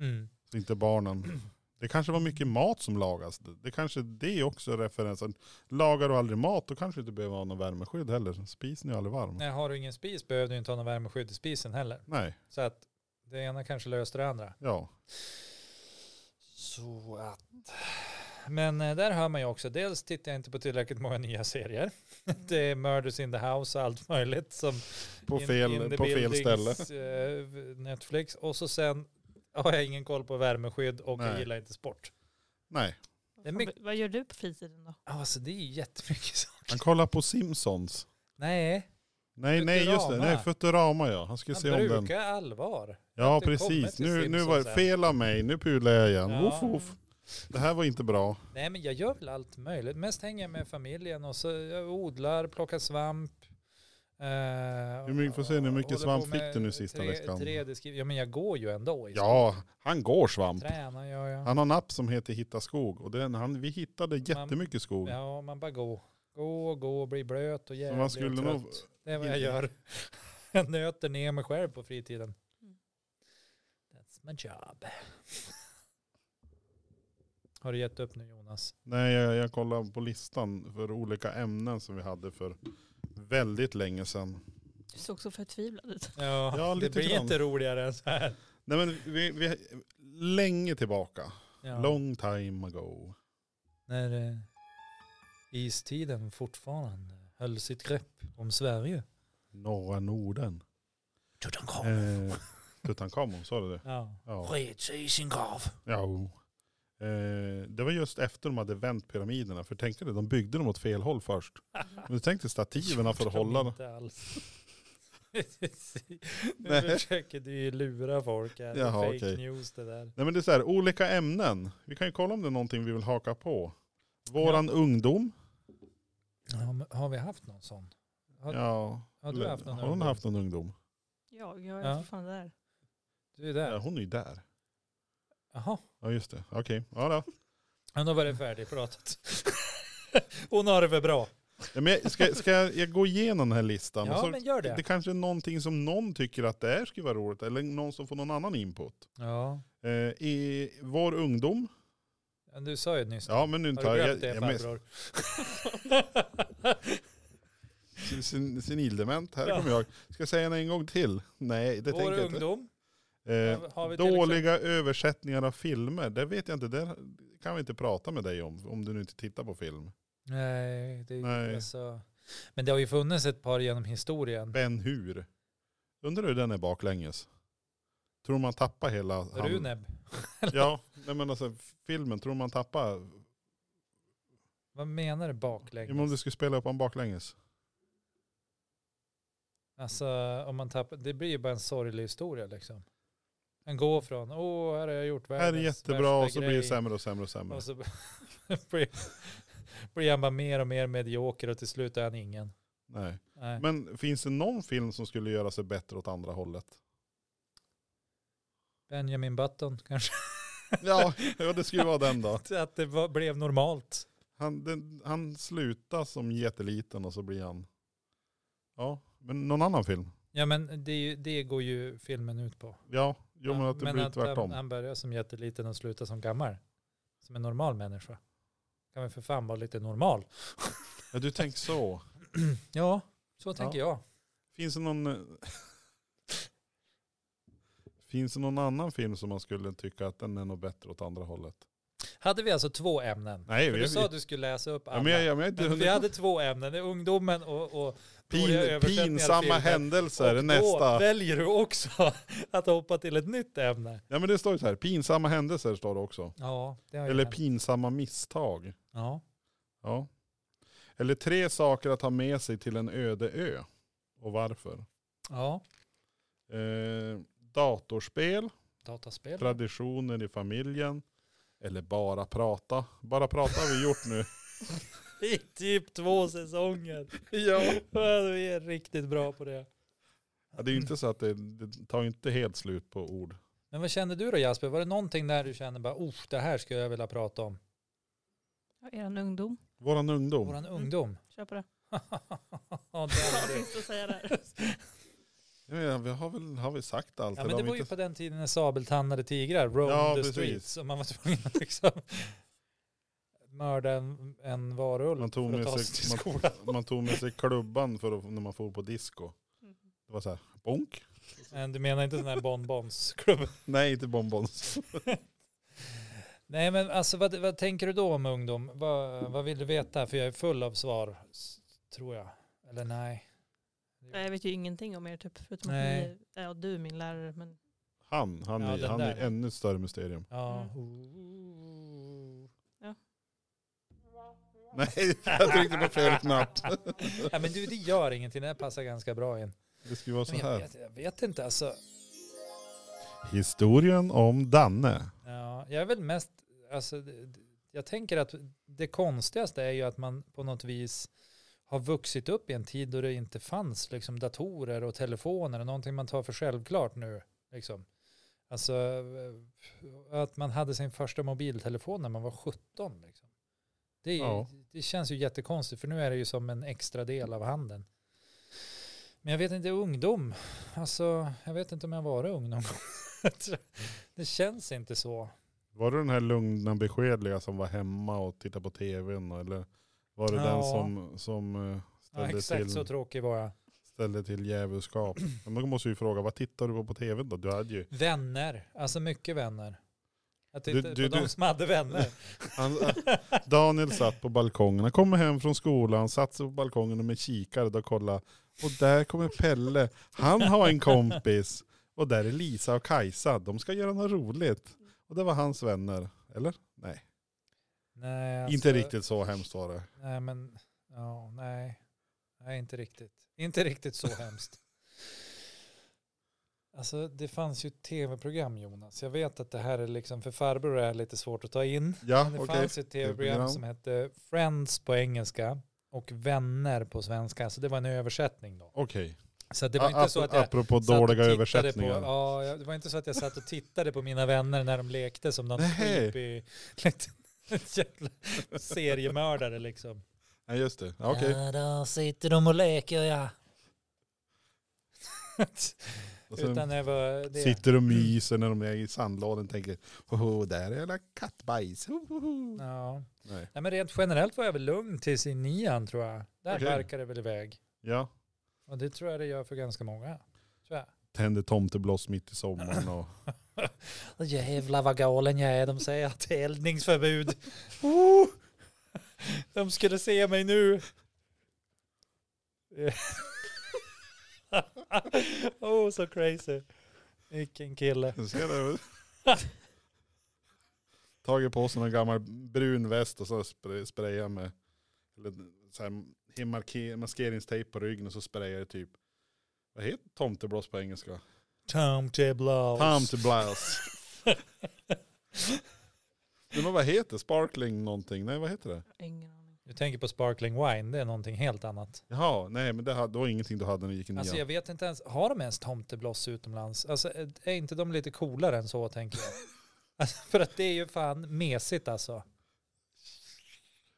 Speaker 1: Mm.
Speaker 2: Så inte barnen. Det kanske var mycket mat som lagas. Det kanske det är också referensen. Lagar du aldrig mat då kanske du inte behöver ha någon värmeskydd heller. Spisen är ju aldrig varm.
Speaker 1: Nej, har du ingen spis behöver du inte ha någon värmeskydd i spisen heller.
Speaker 2: Nej,
Speaker 1: Så att det ena kanske löser det andra.
Speaker 2: ja.
Speaker 1: Så att. Men eh, där hör man ju också, dels tittar jag inte på tillräckligt många nya serier. [LAUGHS] Det är Murders in the House och allt möjligt som
Speaker 2: Mm. På
Speaker 1: in-
Speaker 2: fel,
Speaker 1: in the
Speaker 2: på fel ställe.
Speaker 1: buildings, eh, Netflix. Och så sen har jag ingen koll på värmeskydd och jag
Speaker 2: Nej.
Speaker 1: gillar inte sport.
Speaker 2: Nej,
Speaker 1: Det är
Speaker 3: Vad-
Speaker 1: mycket-
Speaker 3: Vad gör du på fritiden då?
Speaker 1: Alltså det är ju jättemycket [LAUGHS] saker.
Speaker 2: han kollar på Simpsons.
Speaker 1: Nej,
Speaker 2: Nej, nej just det.
Speaker 1: Futurama.
Speaker 2: Nej, Futurama ja. Han skulle
Speaker 1: man
Speaker 2: se om den.
Speaker 1: brukar allvar.
Speaker 2: Ja
Speaker 1: inte komma
Speaker 2: precis.
Speaker 1: till
Speaker 2: Nu, nu
Speaker 1: Simpsons
Speaker 2: var det
Speaker 1: än.
Speaker 2: fel av mig. Nu pular jag igen.
Speaker 1: Ja.
Speaker 2: Woof, woof. Det här var inte bra.
Speaker 1: Nej men jag gör väl allt möjligt. Mest hänger jag med familjen och så jag odlar, plockar svamp. Eh,
Speaker 2: Hur mycket- får se hur mycket
Speaker 1: håller på
Speaker 2: svamp fick
Speaker 1: med
Speaker 2: du nu sista
Speaker 1: tre,
Speaker 2: veckan?
Speaker 1: 3D-skriv- ja men jag går ju ändå. I skogen.
Speaker 2: Ja, han går svamp.
Speaker 1: Tränar gör jag.
Speaker 2: Han har en app som heter Hitta skog. Och den, han, vi hittade jättemycket skog.
Speaker 1: Ja man bara går. Gå och gå och bli blöt och
Speaker 2: Så
Speaker 1: jävlig
Speaker 2: man
Speaker 1: och
Speaker 2: skulle
Speaker 1: trött.
Speaker 2: nog
Speaker 1: Det är vad jag gör. [LAUGHS] Jag nöter ner mig själv på fritiden.
Speaker 3: Mm.
Speaker 1: That's my job. Har du gett upp nu Jonas?
Speaker 2: Nej, jag, jag kollade på listan för olika ämnen som vi hade för väldigt länge sedan.
Speaker 3: Du såg så förtvivlad ut.
Speaker 1: Ja, det
Speaker 2: Ja, lite
Speaker 1: blir
Speaker 2: grann.
Speaker 1: inte roligare än så här.
Speaker 2: Nej, men vi, vi, länge tillbaka.
Speaker 1: Ja.
Speaker 2: Long time ago.
Speaker 1: När eh, istiden fortfarande höll sitt grepp om Sverige.
Speaker 2: Norra Norden.
Speaker 1: Tutankhamun.
Speaker 2: Eh, Tutankhamon, sa du det?
Speaker 1: Ja.
Speaker 2: Ja.
Speaker 1: Red sig i sin
Speaker 2: [LAUGHS]
Speaker 1: grav.
Speaker 2: ja. Eh, det var just efter de hade vänt pyramiderna. För tänk dig, de byggde dem åt fel håll först. Men tänk dig stativerna för att hålla dem.
Speaker 1: Inte
Speaker 2: [LAUGHS]
Speaker 1: alls. nu
Speaker 2: Nej.
Speaker 1: försöker du ju lura folk här.
Speaker 2: Jaha,
Speaker 1: Fake
Speaker 2: okej.
Speaker 1: news det där.
Speaker 2: Nej men det är så här, olika ämnen. Vi kan ju kolla om det är någonting vi vill haka på. Våran ungdom.
Speaker 1: Ja, men har vi haft någon sån? Har-
Speaker 2: Ja.
Speaker 1: Har du haft någon?
Speaker 2: Har hon
Speaker 1: ungdom?
Speaker 2: haft någon ungdom?
Speaker 3: Ja, jag är
Speaker 1: Ja.
Speaker 3: fortfarande där.
Speaker 1: Du är
Speaker 2: Ja,
Speaker 1: där?
Speaker 2: hon är ju där.
Speaker 1: Jaha.
Speaker 2: Ja just det, okej. Ja, då.
Speaker 1: Ja, då var det
Speaker 2: [LAUGHS]
Speaker 1: färdigpratat. Hon har det väl bra?
Speaker 2: Ja, men jag, ska, ska jag jag gå igenom den här listan? Och
Speaker 1: Ja,
Speaker 2: så,
Speaker 1: men gör
Speaker 2: det
Speaker 1: det.
Speaker 2: kanske är någonting som någon tycker att det här skulle vara roligt, eller någon som får någon annan input.
Speaker 1: Ja.
Speaker 2: Eh, I vår ungdom,
Speaker 1: Men Du sa ju nyss.
Speaker 2: ja men nu
Speaker 1: har
Speaker 2: tar
Speaker 1: du
Speaker 2: jag,
Speaker 1: glömt
Speaker 2: jag,
Speaker 1: det
Speaker 2: jag
Speaker 1: farbror? [LAUGHS]
Speaker 2: sin- sin, senildement, här kommer jag. Ska jag säga den en gång till? Nej, det
Speaker 1: Vår
Speaker 2: tänker jag inte.
Speaker 1: ungdom.
Speaker 2: Eh,
Speaker 1: Har vi till
Speaker 2: dåliga översättningar av filmer, det vet jag inte. Där kan vi inte prata med dig om, om du nu inte tittar på film.
Speaker 1: Nej, det är
Speaker 2: Nej.
Speaker 1: ju alltså. Men det har ju funnits ett par genom historien.
Speaker 2: Ben Hur. Undrar hur den är baklänges. Tror man tappar hela... hand-
Speaker 1: Runeb.
Speaker 2: Ja, nej men alltså filmen, tror man tappar...
Speaker 1: Vad menar du
Speaker 2: Ja, men om
Speaker 1: baklänges?
Speaker 2: du skulle spela upp en baklänges.
Speaker 1: Alltså om man tappar, det blir ju bara en sorglig historia liksom. En går från, åh här har jag gjort
Speaker 2: Det
Speaker 1: världens
Speaker 2: här är jättebra
Speaker 1: värsta
Speaker 2: och så blir det
Speaker 1: grej."
Speaker 2: sämre och sämre och sämre.
Speaker 1: Och så [LAUGHS] blir, blir han bara mer och mer medioker och till slut är han ingen.
Speaker 2: Nej.
Speaker 1: Nej.
Speaker 2: Men finns det någon film som skulle göra sig bättre åt
Speaker 1: [LAUGHS]
Speaker 2: andra hållet?
Speaker 1: Benjamin Button kanske.
Speaker 2: Ja, ja, det skulle vara den då.
Speaker 1: [LAUGHS] Att det var, blev normalt.
Speaker 2: Han, den, han slutar som jätteliten och så blir han... Ja, men någon annan film?
Speaker 1: Ja men det, är ju, det går ju filmen ut på.
Speaker 2: Ja, jo
Speaker 1: Ja,
Speaker 2: men att det blir
Speaker 1: han-
Speaker 2: tvärtom.
Speaker 1: Han börjar som jätteliten och slutar som gammal. Som en normal människa. Kan väl för fan vara lite normal.
Speaker 2: Ja, du tänker så.
Speaker 1: Ja, så tänker jag.
Speaker 2: Finns det någon... [LAUGHS] eh, Finns det någon annan film som man skulle tycka att den är något bättre åt andra hållet?
Speaker 1: Hade vi alltså två ämnen?
Speaker 2: Nej,
Speaker 1: För
Speaker 2: vi,
Speaker 1: du sa att
Speaker 2: vi,
Speaker 1: du skulle läsa upp alla.
Speaker 2: ja, men jag, ja, men jag,
Speaker 1: Men vi hade två ämnen, det är ungdomen och, och dåliga
Speaker 2: pin,
Speaker 1: översättningar
Speaker 2: pinsamma
Speaker 1: av filmen.
Speaker 2: händelser är
Speaker 1: och då
Speaker 2: nästa.
Speaker 1: väljer du också [LAUGHS] att hoppa till ett nytt ämne.
Speaker 2: Ja men det står ju så här, pinsamma händelser står det också.
Speaker 1: Ja, det har ju
Speaker 2: Eller
Speaker 1: hänt.
Speaker 2: pinsamma misstag.
Speaker 1: Ja.
Speaker 2: Ja. Eller tre saker att ha med sig till en öde ö. Och varför?
Speaker 1: ja,
Speaker 2: Eh, datorspel,
Speaker 1: dataspel.
Speaker 2: traditioner i familjen. Eller bara prata. Bara prata har vi gjort nu.
Speaker 1: I typ två säsonger.
Speaker 2: ja.
Speaker 1: Ja, Vi är riktigt bra på det.
Speaker 2: Ja, Det är ju inte så att det, det tar ju inte helt slut på ord.
Speaker 1: Men vad kände du då Jasper? Var det någonting där du kände bara, oh, det här skulle jag vilja prata om?
Speaker 3: Ja, eran ungdom.
Speaker 2: Våran ungdom.
Speaker 1: Våran ungdom. [LAUGHS]
Speaker 3: Kör [LAUGHS] på det.
Speaker 1: ja, där
Speaker 3: Vad
Speaker 1: är det.
Speaker 3: finns det att säga där?
Speaker 2: Jag menar, vi har väl har vi sagt allt?
Speaker 1: Ja,
Speaker 2: eller
Speaker 1: men det
Speaker 2: har vi
Speaker 1: var ju
Speaker 2: inte-
Speaker 1: på den tiden när sabeltandade tigrar roamed
Speaker 2: Ja,
Speaker 1: the
Speaker 2: precis.
Speaker 1: streets och man var tvungen att liksom [LAUGHS] mörda en, en varulv
Speaker 2: man, tog
Speaker 1: för att
Speaker 2: med
Speaker 1: ta sig till
Speaker 2: sig,
Speaker 1: skolan.
Speaker 2: man, man tog med sig klubban för att, när man får på disco.
Speaker 3: Mm.
Speaker 2: Det var så här, bonk.
Speaker 1: Men Du menar inte sån här bonbonsklubb?
Speaker 2: Nej, inte bonbons.
Speaker 1: Nej, men alltså vad, vad tänker du då om ungdom? Vad, vad vill du veta? För jag är full av svar, s- tror jag. Eller nej.
Speaker 3: [LAUGHS] Nej, Jag vet ju ingenting om er typ. Förutom att
Speaker 1: Nej.
Speaker 3: ni, ja, du är min lärare. Men
Speaker 2: Han, han,
Speaker 1: Ja,
Speaker 2: är,
Speaker 1: den
Speaker 2: han är
Speaker 1: där.
Speaker 2: ännu större mysterium. [LAUGHS]
Speaker 1: Ja.
Speaker 3: Mm.
Speaker 1: Ooh.
Speaker 2: Nej, jag tryckte på fel knapp. [LAUGHS]
Speaker 1: Ja, men du, det gör ingenting. Det här passar ganska bra in.
Speaker 2: Det skulle vara så
Speaker 1: Men jag,
Speaker 2: här.
Speaker 1: vet, jag vet inte alltså.
Speaker 2: Historien om Danne.
Speaker 1: Ja, jag är väl mest, alltså, d- d- jag tänker att det konstigaste är ju att man på något vis har vuxit upp i en tid då det inte fanns liksom, datorer och telefoner och någonting man tar för självklart nu. Liksom. Alltså eh, att man hade sin första mobiltelefon när man var 17. Liksom. Det, är ju,
Speaker 2: Ja.
Speaker 1: det känns ju jättekonstigt för nu är det ju som en extra del av handeln. Men jag vet inte, ungdom. Alltså, jag vet inte om jag var ung någon gång. [LAUGHS] Det känns inte så.
Speaker 2: Var det den här lugna beskedliga som var hemma och tittade på tvn? Eller var det
Speaker 1: Ja.
Speaker 2: den som, som eh,
Speaker 1: Ja,
Speaker 2: ställde,
Speaker 1: exakt så
Speaker 2: till,
Speaker 1: tråkig var jag.
Speaker 2: ställde
Speaker 1: [CLEARS THROAT]
Speaker 2: till djävulskap? Men då måste vi fråga, vad tittar du på på tvn då? Du hade ju...
Speaker 1: Vänner, alltså mycket vänner. Jag
Speaker 2: Du-
Speaker 1: tittade
Speaker 2: du-
Speaker 1: på de
Speaker 2: du-
Speaker 1: som hade
Speaker 2: [LAUGHS]
Speaker 1: vänner.
Speaker 2: Han, Daniel satt på balkongen, han kommer hem från skolan, satt sig på balkongen och med kikare då kolla. Och där kommer Pelle, han har en kompis. Och där är Lisa och Kajsa, de ska göra något roligt. Och det var hans vänner, eller? Nej,
Speaker 1: Nej, alltså,
Speaker 2: inte riktigt så hemskt var det.
Speaker 1: Nej, men ja, nej. Nej, inte riktigt. Inte riktigt så
Speaker 2: [LAUGHS]
Speaker 1: hemskt. Alltså det fanns ju tv-program Jonas. Jag vet att det här är liksom, för farbror är det lite svårt att ta in.
Speaker 2: Ja,
Speaker 1: Men det
Speaker 2: okej.
Speaker 1: fanns ett tv-program
Speaker 2: Tv-program.
Speaker 1: som hette Friends på engelska och Vänner på svenska. Så det var en översättning då.
Speaker 2: Okej.
Speaker 1: Så det var inte så att jag
Speaker 2: Apropå
Speaker 1: satt och
Speaker 2: dåliga
Speaker 1: tittade
Speaker 2: översättningar.
Speaker 1: På, ja, jag- det var inte så att jag satt och tittade på mina vänner när de lekte som någon typ
Speaker 2: Nej.
Speaker 1: creepy [LAUGHS] liten jävla seriemördare liksom.
Speaker 2: Nej just det, Ja,
Speaker 1: Eh,
Speaker 2: okej.
Speaker 4: Ja, där sitter de och leker
Speaker 1: [LAUGHS]
Speaker 4: ja.
Speaker 2: Och sen
Speaker 1: Utan det var det.
Speaker 2: Sitter och myser när de är i sandlådan och tänker, oh, där är alla kattbajs. Ho, ho, ho.
Speaker 1: Ja.
Speaker 2: Nej.
Speaker 1: Nej, men rent generellt var jag väl lugn tills i nian tror jag. Där
Speaker 2: Okej.
Speaker 1: barkade det väl iväg.
Speaker 2: Ja,
Speaker 1: Och det tror jag det gör för ganska många. Tror jag.
Speaker 2: tänder tomteblås mitt i sommaren och [LAUGHS]
Speaker 4: Jävlar vad galen jag är. De säger att det är eldningsförbud. Oh! De skulle se mig nu. [LAUGHS] Eh. oh, så crazy. Vilken kille.
Speaker 2: Nu ska det- Tagit på sig någon gammal brun väst och så spray- sprayar med eller så här, he- marke- maskeringstejp på ryggen och så sprayar det typ, vad heter tomteblås på engelska?
Speaker 4: Tom Teblows.
Speaker 2: [LAUGHS] Tomteblås. Men vad heter det? Sparkling någonting? Nej vad heter det?
Speaker 3: Ingen aning.
Speaker 1: Du tänker på sparkling wine, det är någonting helt annat.
Speaker 2: Jaha, nej men det, hade, det var ingenting du hade när du gick i nian.
Speaker 1: Alltså jag vet inte ens, har de ens tomtebloss utomlands? Alltså är inte de lite coolare än så tänker
Speaker 2: [LAUGHS]
Speaker 1: jag? Alltså, för att det är ju fan mesigt alltså.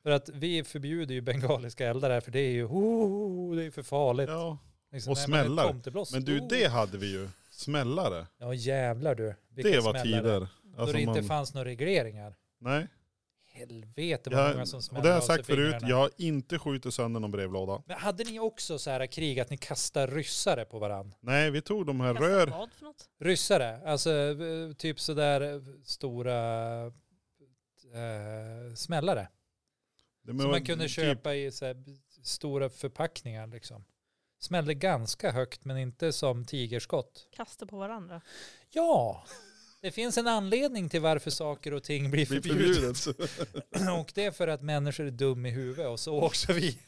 Speaker 1: För att vi förbjuder ju bengaliska eldar här för det är ju, oh, det är ju för farligt.
Speaker 2: ja.
Speaker 1: Liksom,
Speaker 2: och
Speaker 1: nej, men ett
Speaker 2: smällar.
Speaker 1: tomtebloss,
Speaker 2: Men du
Speaker 1: oh.
Speaker 2: det hade vi ju, smällare.
Speaker 1: Ja jävlar du.
Speaker 2: Det
Speaker 1: Vilka
Speaker 2: var
Speaker 1: smällare.
Speaker 2: tider.
Speaker 1: Då
Speaker 2: Alltså
Speaker 1: det inte
Speaker 2: man-
Speaker 1: fanns några regleringar.
Speaker 2: Nej.
Speaker 1: Helvete vad
Speaker 2: Jag,
Speaker 1: många som smällde
Speaker 2: och det har jag
Speaker 1: av sig
Speaker 2: sagt förut,
Speaker 1: fingrarna.
Speaker 2: jag har inte skjutit sönder någon brevlåda.
Speaker 1: Men hade ni också så här krig att ni kastar ryssare på varann?
Speaker 2: Nej, vi tog de här
Speaker 3: Kasta
Speaker 2: rör...
Speaker 3: Vad för något?
Speaker 1: Ryssare, alltså eh, typ sådär stora eh, smällare.
Speaker 2: Men,
Speaker 1: som man kunde
Speaker 2: typ-
Speaker 1: köpa i så här b- stora förpackningar liksom. Smällde ganska högt men inte som tigerskott.
Speaker 3: Kasta på varandra.
Speaker 1: Ja, det finns en anledning till varför saker och ting blir
Speaker 2: blir
Speaker 1: förbjudet. [CLEARS THROAT]
Speaker 2: förbjudet. [LAUGHS]
Speaker 1: Och det är för att människor är dum i huvudet och så också vi.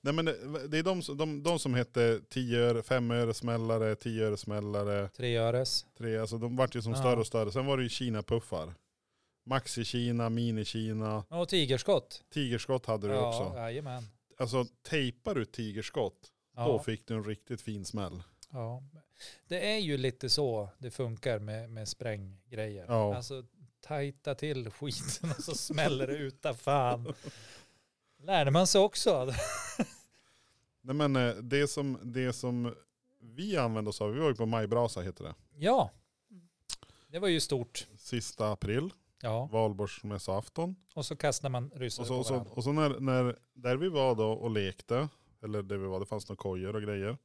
Speaker 2: Nej men eh, det det är de, som- de, de som hette 10 öre, 5 öre smällare, 10 öre smällare,
Speaker 1: Treöres.
Speaker 2: 3, alltså de vart ju som
Speaker 1: Ja.
Speaker 2: större och större. Sen var det ju Kina-puffar. Maxi-Kina, Mini-Kina,
Speaker 1: Och tigerskott.
Speaker 2: tigerskott hade du
Speaker 1: Ja,
Speaker 2: också.
Speaker 1: jajamän.
Speaker 2: Alltså tejpar du tigerskott, då
Speaker 1: Ja.
Speaker 2: fick du en riktigt fin smäll.
Speaker 1: Ja, det är ju lite så det funkar med, med spränggrejer.
Speaker 2: Ja.
Speaker 1: Alltså tajta till skiten och så smäller det utan fan. Lärde man sig också.
Speaker 2: Nej men eh, det som, det som vi använde oss av, vi var ju på Majbrasa heter det,
Speaker 1: Ja, det var ju stort.
Speaker 2: sista april,
Speaker 1: Ja,
Speaker 2: valborgsmässoafton.
Speaker 1: och så kastar man ryssar
Speaker 2: Och så,
Speaker 1: på
Speaker 2: och så,
Speaker 1: varandra.
Speaker 2: och så när, när, där vi var då och lekte, eller där vi var, det fanns några kojor och grejer,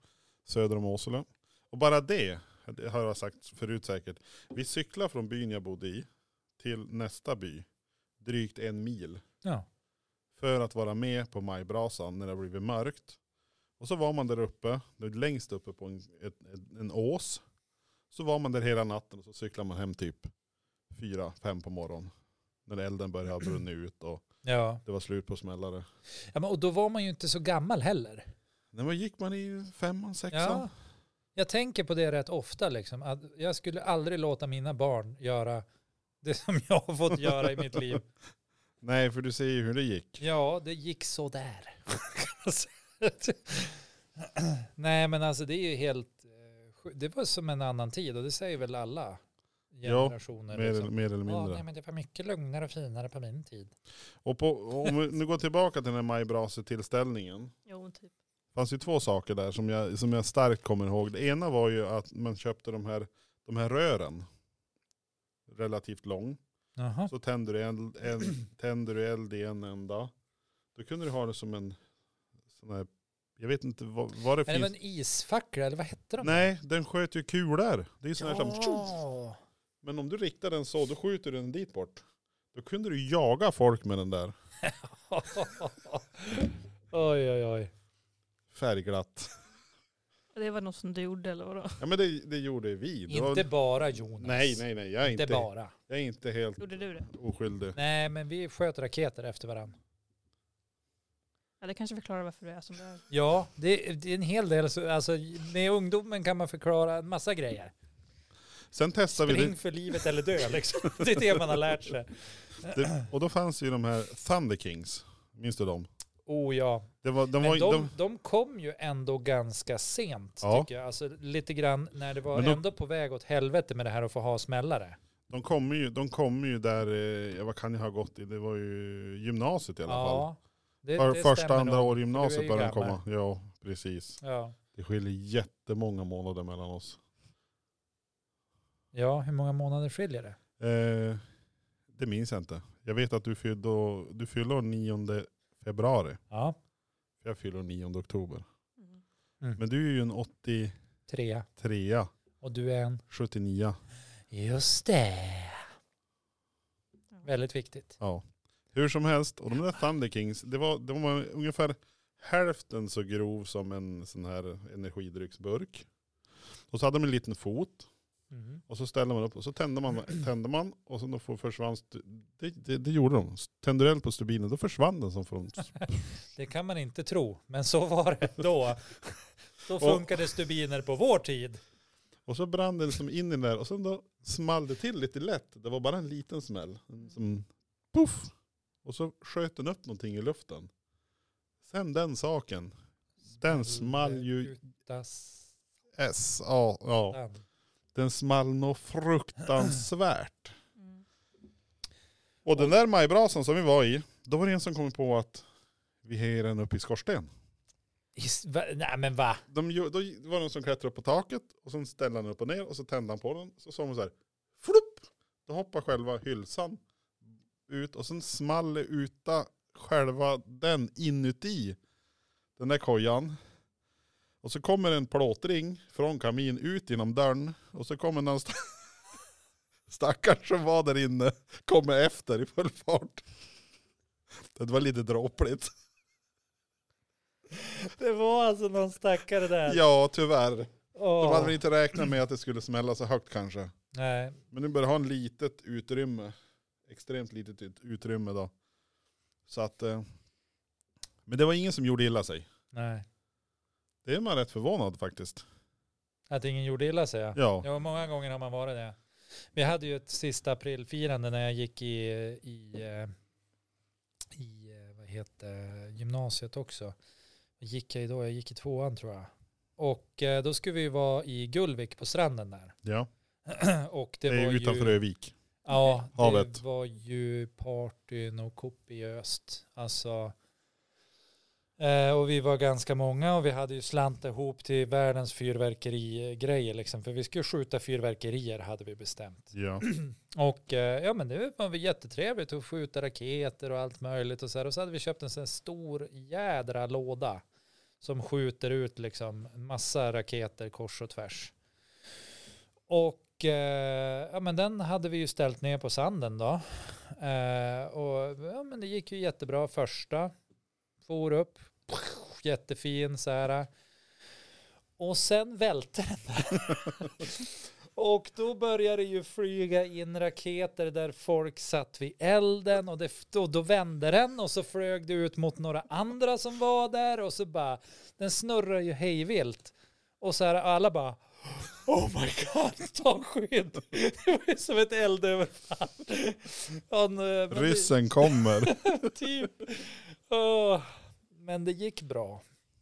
Speaker 2: söder om Åsele. Och bara det, det har jag sagt förut säkert, vi cyklade från byn jag bodde i till nästa by, drygt en mil,
Speaker 1: Ja.
Speaker 2: för att vara med på majbrasan när det blivit mörkt. Och så var man där uppe, det är längst uppe på en, ett, en, en ås, så var man där hela natten och så cyklade man hem typ fyra, fem på morgonen. När elden började ha brunnit ut och
Speaker 1: Ja.
Speaker 2: det var slut på smällare.
Speaker 1: ja, men och då var man ju inte så gammal heller.
Speaker 2: Nej, men gick man i femman, sexan?
Speaker 1: Ja. Jag tänker på det rätt ofta liksom. Att jag skulle aldrig låta mina barn göra det som jag har fått göra i mitt liv.
Speaker 2: Nej, för du ser ju hur det gick.
Speaker 1: Ja, det gick så där. [LAUGHS] Nej, men alltså det är ju helt... eh, sj- Det var som en annan tid och det säger väl alla generationer.
Speaker 2: Mer, eller-
Speaker 1: liksom.
Speaker 2: mer eller
Speaker 1: ja, nej,
Speaker 2: mindre.
Speaker 1: men det var mycket lugnare och finare på min tid.
Speaker 2: Och på, om vi nu går tillbaka till den här majbrasetillställningen.
Speaker 3: Jo, typ.
Speaker 2: Det fanns ju två saker där som jag, som jag starkt kommer ihåg. Det ena var ju att man köpte de här, de här rören. Relativt lång.
Speaker 1: Jaha.
Speaker 2: Så tände du, eld, eld, [CLEARS THROAT] tände du eld i en enda. Då kunde du ha det som en sån här, jag vet inte vad, vad det
Speaker 1: Men det var
Speaker 2: finns.
Speaker 1: en isfackla, eller vad hette de?
Speaker 2: Nej, den sköt ju kulor. Det är ju sån här som,
Speaker 1: ja.
Speaker 2: Men om du riktar den så, då skjuter du den dit bort. Då kunde du jaga folk med den där.
Speaker 1: [LAUGHS] Oj, oj, oj.
Speaker 2: Färgglatt.
Speaker 3: Det var något som du gjorde eller vadå?
Speaker 2: Ja men det, det gjorde vi. Det var-
Speaker 1: Inte bara Jonas.
Speaker 2: nej, nej, nej. Jag är
Speaker 1: Inte,
Speaker 2: inte,
Speaker 1: bara.
Speaker 2: jag är inte helt
Speaker 3: [LAUGHS] Gjorde du det?
Speaker 2: oskyldig.
Speaker 1: Nej, men vi sköt raketer efter varandra.
Speaker 3: Ja, det kanske förklarar varför du är som du är.
Speaker 1: Ja, det, det är en hel del. så- Alltså, med ungdomen kan man förklara en massa grejer.
Speaker 2: Sen testade vi
Speaker 1: Spring
Speaker 2: det,
Speaker 1: för livet eller dö liksom. [LAUGHS] Det är det man har lärt sig.
Speaker 2: det. Och då fanns ju de här Thunder Kings. Minns du dem?
Speaker 1: Oh ja.
Speaker 2: Det var, de var,
Speaker 1: Men
Speaker 2: de,
Speaker 1: de, de kom ju ändå ganska sent
Speaker 2: Ja.
Speaker 1: tycker jag. Alltså lite grann när det var
Speaker 2: Men de-
Speaker 1: ändå på väg åt helvete med det här att få ha smällare.
Speaker 2: de kommer ju, de kommer ju där, eh, ja, vad kan jag ha gått i? Det var ju gymnasiet i alla fall.
Speaker 1: Ja. Det,
Speaker 2: För,
Speaker 1: det
Speaker 2: första,
Speaker 1: stämmer
Speaker 2: andra
Speaker 1: nog.
Speaker 2: år
Speaker 1: Du är
Speaker 2: gymnasiet
Speaker 1: ju
Speaker 2: började de
Speaker 1: gammal.
Speaker 2: komma. Ja, precis.
Speaker 1: Ja.
Speaker 2: Det skiljer jättemånga månader mellan oss.
Speaker 1: ja, hur många månader skiljer det?
Speaker 2: Eh, det minns jag inte. Jag vet att du fyller, du fyller 9 februari.
Speaker 1: Ja,
Speaker 2: Jag fyller 9 oktober.
Speaker 3: Mm.
Speaker 2: Men du är ju en
Speaker 1: tre.
Speaker 2: 83,
Speaker 1: Och du är en?
Speaker 2: 79.
Speaker 1: Just det. Väldigt viktigt.
Speaker 2: Ja. Hur som helst, och de där Thunder Kings, det var, de var ungefär hälften så grov som en sån här energidrycksburk. Och så hade de en liten fot,
Speaker 1: Mm.
Speaker 2: och så ställde man upp, och så tände man, tände man och så då får- försvann, stu- det, det, det gjorde de. Tände du eld på stubinen, då försvann den som från...
Speaker 1: Det kan man inte tro, men så var det [LAUGHS] då. Då funkade stubiner på vår tid.
Speaker 2: Och så brann den som in i den där, och sen då small det till lite lätt. Det var bara en liten smäll. En Som poff! Och så sköt den upp någonting i luften. Sen den saken, den small ju
Speaker 1: Utas-
Speaker 2: S, ja, ja. Den small nog fruktansvärt.
Speaker 3: Mm.
Speaker 2: Och den där majbrasan som vi var i, då var det en som kom på att vi hejar den upp i skorsten.
Speaker 1: Is- va- Nej men va?
Speaker 2: De, gjo- då var det någon som klättrade upp på taket och sen ställde han upp och ner och så tände han på den. Så sa de så här, flupp! Då hoppar själva hylsan ut och sen small det uta själva den inuti den där kojan. Och så kommer en plåtring från kamin ut genom dörren och så kommer någon st- [LAUGHS] stackars som var där inne, kommer efter i full fart. Det var lite dråpligt.
Speaker 1: [LAUGHS] Det var alltså någon stackare där.
Speaker 2: Ja, tyvärr. De
Speaker 1: Åh.
Speaker 2: hade väl inte räknat med att det skulle smälla så högt kanske.
Speaker 1: Nej,
Speaker 2: Men nu börjar ha en litet utrymme. Extremt litet ut- utrymme då. Så att... eh, Men det var ingen som gjorde illa sig.
Speaker 1: nej.
Speaker 2: Det är man rätt förvånad faktiskt.
Speaker 1: Att ingen gjorde illa sig. Ja.
Speaker 2: Ja.
Speaker 1: ja, många gånger har man varit det. Vi hade ju ett sista aprilfirande när jag gick i, i, eh, i eh, vad heter, gymnasiet också. Vad gick jag idag? Jag gick i tvåan tror jag. Och eh, då skulle vi ju vara i Gullvik på stranden där. [CLEARS THROAT]
Speaker 2: ja.
Speaker 1: Och
Speaker 2: Det,
Speaker 1: det,
Speaker 2: är
Speaker 1: var
Speaker 2: utanför
Speaker 1: ju,
Speaker 2: Övik.
Speaker 1: Ja,
Speaker 2: Havet.
Speaker 1: det var ju partyn och kopiöst. Alltså, eh, och vi var ganska många och vi hade ju slant ihop till världens fyrverkerigrejer liksom. För vi skulle skjuta fyrverkerier hade vi bestämt. [CLEARS THROAT]
Speaker 2: Ja.
Speaker 1: Och eh, ja men det var väl jättetrevligt att skjuta raketer och allt möjligt och så här. Och så hade vi köpt en sån här stor jädra låda som skjuter ut liksom en massa raketer kors och tvärs. Och eh, ja men den hade vi ju ställt ner på sanden då. Eh, och ja men det gick ju jättebra första. For upp. Jättefin så här. Och sen välte [LAUGHS] och då började det ju flyga in raketer där folk satt vid elden och, det, och då vände den och så flög det ut mot några andra som var där och så bara, den snurrar ju hejvilt. Och så här alla bara, oh my god, [LAUGHS] ta skydd. Det var ju som ett eldöverfall. Ja, nu- men det-
Speaker 2: Ryssen kommer.
Speaker 1: Typ. Åh, Men det gick bra.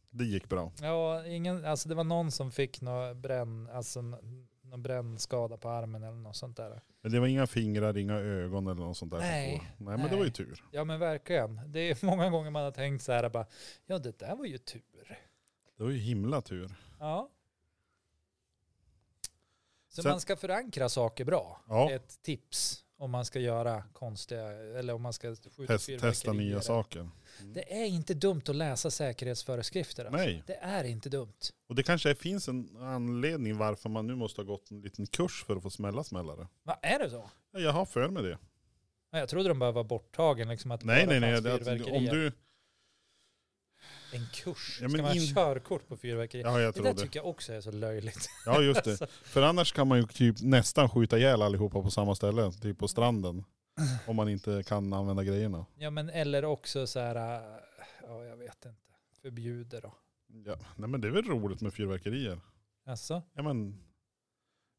Speaker 2: Det gick bra.
Speaker 1: Ja, ingen, alltså det var någon som fick någon bränn, alltså n- någon brännskada på armen eller något sånt där.
Speaker 2: Men det var inga fingrar, inga ögon eller något sånt där. som
Speaker 1: Nej.
Speaker 2: for. Nej men det var ju
Speaker 1: Nej.
Speaker 2: tur.
Speaker 1: Ja men verkligen. Det är [LAUGHS] många gånger man har tänkt så här bara, ja det där var ju tur.
Speaker 2: Det var ju himla tur.
Speaker 1: Ja. Så
Speaker 2: Sen-
Speaker 1: man ska förankra saker bra.
Speaker 2: Ja.
Speaker 1: Ett tips om man ska göra konstiga, eller om man ska skjuta
Speaker 2: Test, testa
Speaker 1: fyrverkerier.
Speaker 2: nya saker.
Speaker 1: Det är inte dumt att läsa säkerhetsföreskrifter. Alltså.
Speaker 2: Nej.
Speaker 1: Det är inte dumt.
Speaker 2: Och det kanske finns en anledning varför man nu måste ha gått en liten kurs för att få smälla smällare.
Speaker 1: Vad är det så?
Speaker 2: Ja, Jag har för mig det.
Speaker 1: Ja, Jag trodde de bara var borttagen. Liksom att det
Speaker 2: Nej,
Speaker 1: bara
Speaker 2: nej, nej.
Speaker 1: fanns
Speaker 2: Det, att, om
Speaker 1: fyrverkerier.
Speaker 2: du...
Speaker 1: En kurs?
Speaker 2: Ja, men
Speaker 1: ska man ha
Speaker 2: in-
Speaker 1: körkort på fyrverkeri?
Speaker 2: Ja, jag
Speaker 1: det
Speaker 2: tror
Speaker 1: där
Speaker 2: det.
Speaker 1: tycker jag också är så löjligt. alltså.
Speaker 2: Ja, just [LAUGHS] det. För annars kan man ju typ nästan skjuta ihjäl allihopa på samma ställe, typ på stranden. Om man inte kan använda grejerna.
Speaker 1: Ja men eller också så här, äh, ja jag vet inte, förbjuder då.
Speaker 2: Ja. Nej, men det är väl roligt med fyrverkerier.
Speaker 1: Alltså?
Speaker 2: Ja, men,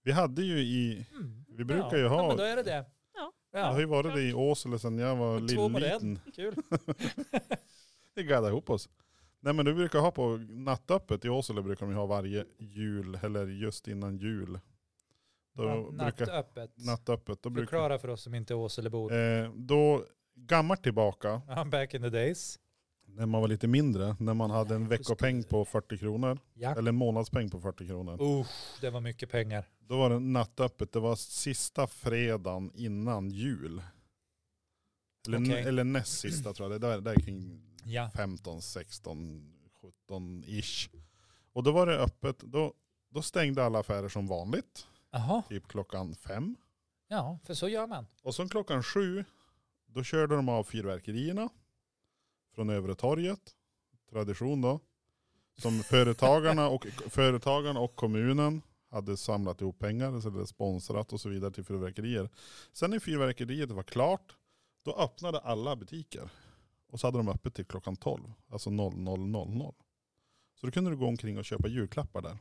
Speaker 2: vi hade ju i...
Speaker 1: Mm.
Speaker 2: Vi brukar
Speaker 1: ja.
Speaker 2: ju ha-
Speaker 1: Ja men då är det det.
Speaker 3: Ja.
Speaker 2: Jag har
Speaker 1: ja.
Speaker 2: ju varit i Åsele sedan jag var
Speaker 1: Och två på
Speaker 2: liten.
Speaker 1: kul.
Speaker 2: Vi gaddade ihop oss. Nej men du brukar ha på nattöppet i Åsele brukar de ju ha varje jul, eller just innan jul. Då
Speaker 1: Natt,
Speaker 2: brukar,
Speaker 1: nattöppet.
Speaker 2: nattöppet. Då brukar,
Speaker 1: Förklara för oss som inte är Åselebor.
Speaker 2: Eh, då, gammalt tillbaka,
Speaker 1: Ja, back in the days.
Speaker 2: när man var lite mindre, när man hade en
Speaker 1: Ja, just det.
Speaker 2: veckopeng på 40 kronor,
Speaker 1: Ja.
Speaker 2: eller en månadspeng på 40 kronor.
Speaker 1: Usch, det var mycket pengar.
Speaker 2: Då var det nattöppet, det var sista fredagen innan jul. Eller,
Speaker 1: Okej.
Speaker 2: eller näst sista tror jag, det där, där kring
Speaker 1: Ja.
Speaker 2: 15, 16, 17 ish. Och då var det öppet, då, då stängde alla affärer som vanligt,
Speaker 1: Jaha.
Speaker 2: typ klockan fem.
Speaker 1: Ja, för så gör man.
Speaker 2: Och sen klockan sju, då körde de av fyrverkerierna från övre torget. Tradition då. Som företagarna och, företagarna och kommunen hade samlat ihop pengar, så det sponsrat och så vidare till fyrverkerier. Sen när fyrverkeriet var klart, då öppnade alla butiker. Och så hade de öppet till klockan 12, alltså 00.00. Så då kunde du gå omkring och köpa julklappar där.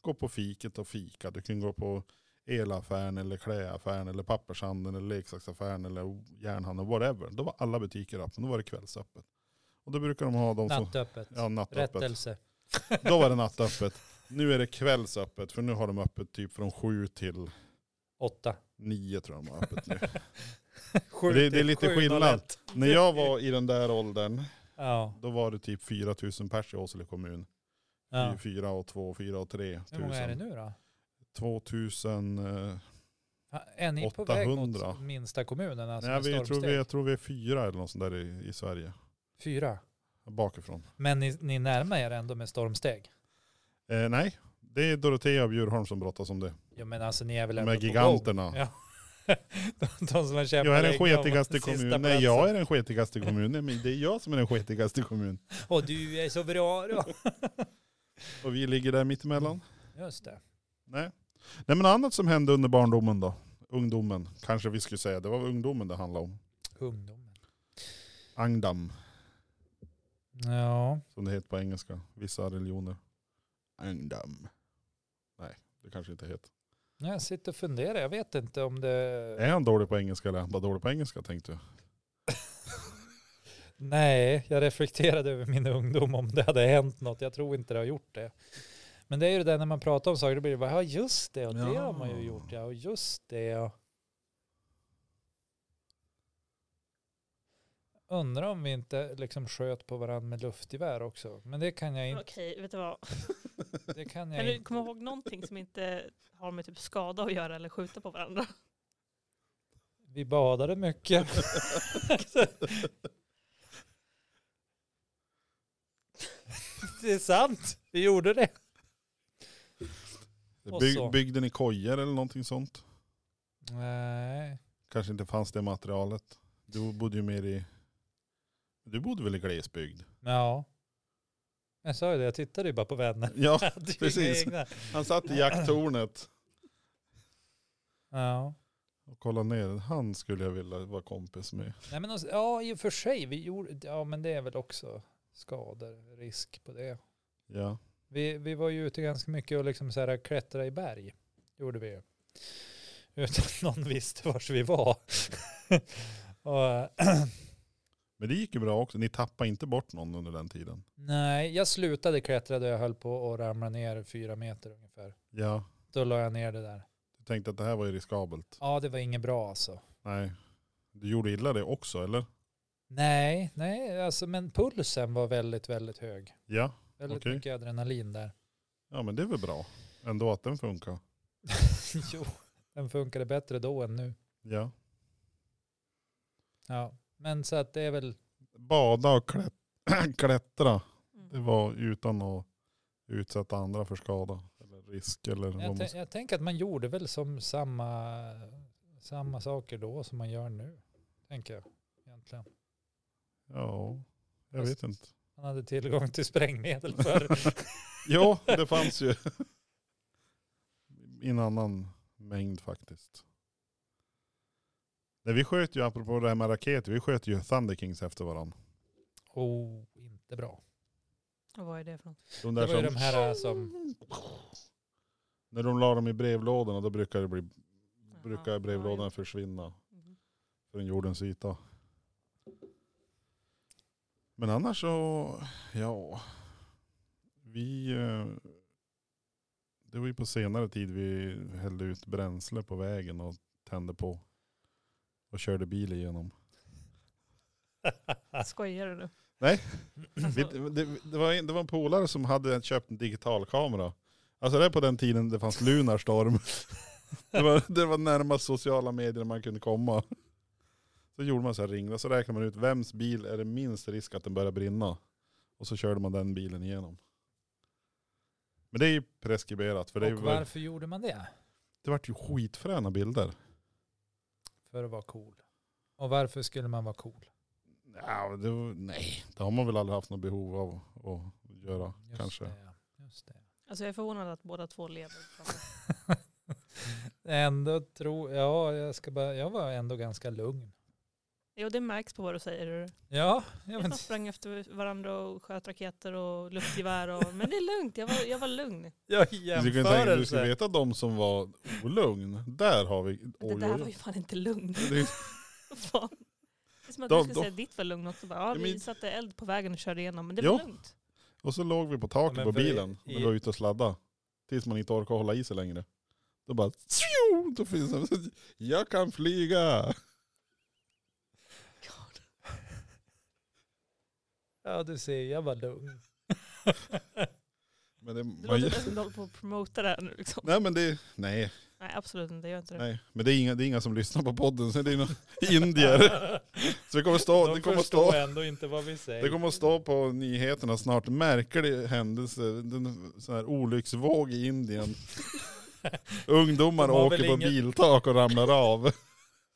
Speaker 2: Gå på fiket och fika, du kunde gå på elaffären eller kläaffären eller pappershandeln eller leksaksaffären eller järnhandeln, whatever. Då var alla butiker öppna, då var det kvällsöppet. Och då brukar de ha de som...
Speaker 1: Nattöppet.
Speaker 2: Ja, nattöppet.
Speaker 1: Rättelse.
Speaker 2: Då var det nattöppet. Nu är det kvällsöppet, för nu har de öppet typ från sju till
Speaker 1: Åtta.
Speaker 2: nio tror jag de har
Speaker 1: [LAUGHS]
Speaker 2: öppet nu.
Speaker 1: Sju
Speaker 2: Det- det är
Speaker 1: till
Speaker 2: lite
Speaker 1: 701.
Speaker 2: skillnad. När jag var i den där åldern,
Speaker 1: Ja.
Speaker 2: då var det typ 4 000 pers i Åsele kommun.
Speaker 1: ja.
Speaker 2: 4 och 2, 4 och 3
Speaker 1: Hur många är det
Speaker 2: 000.
Speaker 1: nu då?
Speaker 2: 2000, eh,
Speaker 1: Ja, Är ni på väg
Speaker 2: 800.
Speaker 1: mot minsta kommunen? Alltså
Speaker 2: nej,
Speaker 1: med
Speaker 2: vi, jag, tror vi,
Speaker 1: stormsteg?
Speaker 2: jag tror vi är fyra eller något sånt där i, i Sverige.
Speaker 1: Fyra.
Speaker 2: Bakifrån.
Speaker 1: Men ni, ni närmar er ändå med stormsteg?
Speaker 2: Eh, nej, det är Dorotea och Bjurholm som brottas om det.
Speaker 1: Jo men alltså ni är väl
Speaker 2: De
Speaker 1: ändå
Speaker 2: här
Speaker 1: på gång?
Speaker 2: giganterna.
Speaker 1: Ja. [LAUGHS] De, de som har kämpat
Speaker 2: Jag är den
Speaker 1: länge om
Speaker 2: sketigaste
Speaker 1: sista
Speaker 2: kommunen. Nej,
Speaker 1: platsen.
Speaker 2: jag är den sketigaste kommunen. Men det är jag som är den sketigaste kommunen.
Speaker 1: Och du är så bra
Speaker 2: [LAUGHS]
Speaker 1: då.
Speaker 2: Och vi ligger där mittemellan.
Speaker 1: Just det.
Speaker 2: Nej. Nej, men annat som hände under barndomen då. Ungdomen, kanske vi skulle säga. Det var ungdomen det handlade om.
Speaker 1: Ungdomen.
Speaker 2: Angdam,
Speaker 1: Ja.
Speaker 2: som det heter på engelska. Vissa religioner. Angdam. Nej, det kanske inte heter.
Speaker 1: Jag sitter och funderar. Jag vet inte om
Speaker 2: Är
Speaker 1: det...
Speaker 2: han dålig på engelska eller är han bara dålig på engelska tänkte jag.
Speaker 1: Nej, jag reflekterade över min ungdom om det hade hänt något. Jag tror inte det har gjort det. Men det är ju det där när man pratar om saker, då blir det bara, ja just det, och det
Speaker 2: Ja.
Speaker 1: har man ju gjort, ja och just det. Och... Undrar om vi inte liksom sköt på varandra med luftgevär också. Men det kan jag inte.
Speaker 3: Okej, vet du vad?
Speaker 1: Det kan
Speaker 3: Kan
Speaker 1: jag
Speaker 3: du
Speaker 1: inte.
Speaker 3: komma ihåg någonting som inte har med typ skada att göra eller skjuta på varandra?
Speaker 1: Vi badade
Speaker 3: [LAUGHS]
Speaker 1: mycket. det är sant, vi gjorde det. Och
Speaker 2: Byg,
Speaker 1: så.
Speaker 2: byggde ni kojor eller någonting sånt?
Speaker 1: Nej.
Speaker 2: Kanske inte fanns det materialet. Du bodde ju mer i... Du bodde väl i glesbygd?
Speaker 1: Ja. Jag sa ju det, jag tittade ju bara på vänner.
Speaker 2: Ja,
Speaker 1: [LAUGHS] Jag hade ju
Speaker 2: precis.
Speaker 1: inga egna.
Speaker 2: han satt i jakttornet
Speaker 1: Ja.
Speaker 2: och kollade ner. Han skulle jag vilja vara kompis med.
Speaker 1: Nej, men alltså, ja, i och för sig. Vi gjorde, ja, men det är väl också skador, risk på det.
Speaker 2: Ja.
Speaker 1: Vi, vi var ju ute ganska mycket och liksom så här klättra i berg. Gjorde vi ju. Utan att någon visste vars vi var. [LAUGHS] och, [CLEARS THROAT]
Speaker 2: Men det gick ju bra också. Ni tappade inte bort någon under den tiden.
Speaker 1: nej, jag slutade klättra då jag höll på att ramla ner fyra meter ungefär.
Speaker 2: Ja.
Speaker 1: Då la jag ner det där.
Speaker 2: Du tänkte att det här var ju riskabelt.
Speaker 1: Ja, det var inget bra alltså.
Speaker 2: Nej. Du gjorde illa det också eller?
Speaker 1: Nej, nej, alltså, men pulsen var väldigt, väldigt hög.
Speaker 2: Ja.
Speaker 1: Väldigt
Speaker 2: Okej.
Speaker 1: mycket adrenalin
Speaker 2: [LAUGHS]
Speaker 1: där.
Speaker 2: Ja men det är väl bra. Ändå att den funkar.
Speaker 1: jo, den funkade bättre då än nu.
Speaker 2: Ja.
Speaker 1: Ja, men så att det är väl,
Speaker 2: Bada och klätt- [CLEARS THROAT] klättra. Det
Speaker 3: Mm.
Speaker 2: var utan att utsätta andra för skada. Eller risk eller vad
Speaker 1: jag,
Speaker 2: man
Speaker 1: tän- jag tänker att man gjorde väl som samma,
Speaker 2: Mm.
Speaker 1: samma saker då som man gör nu, tänker jag egentligen.
Speaker 2: Ja, jag vet inte.
Speaker 1: Man hade tillgång till sprängmedel för
Speaker 2: [LAUGHS] Ja, det fanns ju. I en annan mängd faktiskt. Nej, vi sköt ju, apropå det här med raketer, vi sköt ju Thunder Kings efter varandra.
Speaker 1: Oh, inte bra.
Speaker 3: Och vad är det för något?
Speaker 2: De
Speaker 1: Det
Speaker 2: där
Speaker 1: var ju
Speaker 2: som,
Speaker 1: de här äh, som,
Speaker 2: När de la dem i brevlådorna då brukar, det bli,
Speaker 3: Jaha,
Speaker 2: brukar
Speaker 3: ja,
Speaker 2: brevlådorna
Speaker 3: jo.
Speaker 2: försvinna
Speaker 3: Mhm.
Speaker 2: från jordens yta. Men annars så, ja. Vi, eh, det var ju på senare tid vi hällde ut bränsle på vägen och tände på. Och körde bil igenom.
Speaker 3: Skojar du nu? Alltså,
Speaker 2: Nej. Vi, det, det, var en, det var en polare som hade köpt en digitalkamera. Alltså det är på den tiden det fanns Lunarstorm. [LAUGHS] Det var, det var närmast sociala medier man kunde komma. Så gjorde man så här ring och så räknade man ut vems bil är det minst risk att den börjar brinna. Och så körde man den bilen igenom. Men det är ju preskriberat för det, är
Speaker 1: och
Speaker 2: ju,
Speaker 1: varför gjorde man det?
Speaker 2: det vart ju skitfräna bilder.
Speaker 1: för att vara cool. Och varför skulle man vara cool?
Speaker 2: Ja, det, var- nej, det har man väl aldrig haft något behov av att göra
Speaker 1: Just
Speaker 2: kanske.
Speaker 1: Det, just det.
Speaker 3: Alltså jag är förvånad att båda två lever. fortfarande.
Speaker 1: Ändå tror, ja jag ska bara, jag var ändå ganska lugn.
Speaker 3: Jo det märks på vad du säger. hör du.
Speaker 1: Ja, jag men,
Speaker 3: Vi sprang efter varandra och sköt raketer och luftgevär. Och, men det är lugnt, jag var, jag var lugn.
Speaker 1: jag
Speaker 2: Du kan tänka, du ska
Speaker 1: jämförelse.
Speaker 2: veta de som var olugn. Där har vi... Oj,
Speaker 3: Det där
Speaker 2: oj,
Speaker 3: var ju
Speaker 2: oj.
Speaker 3: fan inte lugnt.
Speaker 2: Det är-
Speaker 3: Fan. Det är som att
Speaker 2: De-
Speaker 3: du skulle
Speaker 2: de-
Speaker 3: säga att ditt var lugnt också. Bara, ja,
Speaker 2: Ja,
Speaker 3: vi
Speaker 2: men-
Speaker 3: satte eld på vägen och körde igenom, men det
Speaker 2: Ja.
Speaker 3: var lugnt.
Speaker 2: Och så låg vi på
Speaker 1: Ja,
Speaker 2: taket
Speaker 1: men
Speaker 2: på
Speaker 1: för i-
Speaker 2: bilen när vi
Speaker 1: i-
Speaker 2: var ute och sladda. Tills man inte orkar hålla i sig längre. Då bara... tjo, Då finns det, jag kan flyga!
Speaker 1: Ja du ser, jag var lugn.
Speaker 2: Men det,
Speaker 3: Det
Speaker 2: man,
Speaker 3: låter inte som du håller på att promota det här nu. Liksom.
Speaker 2: nej men det... Nej,
Speaker 3: Nej, absolut inte. Jag gör inte det.
Speaker 2: nej. Men det är, inga, det är inga som lyssnar på podden. Så det
Speaker 1: [LAUGHS]
Speaker 2: är några indier. Så det kommer stå... Det
Speaker 1: De
Speaker 2: kommer
Speaker 1: förstår
Speaker 2: stå
Speaker 1: ändå inte vad vi säger.
Speaker 2: det kommer att stå på nyheterna snart, märklig händelse, den sån här olycksvåg
Speaker 1: [LAUGHS]
Speaker 2: i Indien. Ungdomar
Speaker 1: De har
Speaker 2: åker
Speaker 1: väl
Speaker 2: på
Speaker 1: inget-
Speaker 2: biltak och ramlar av.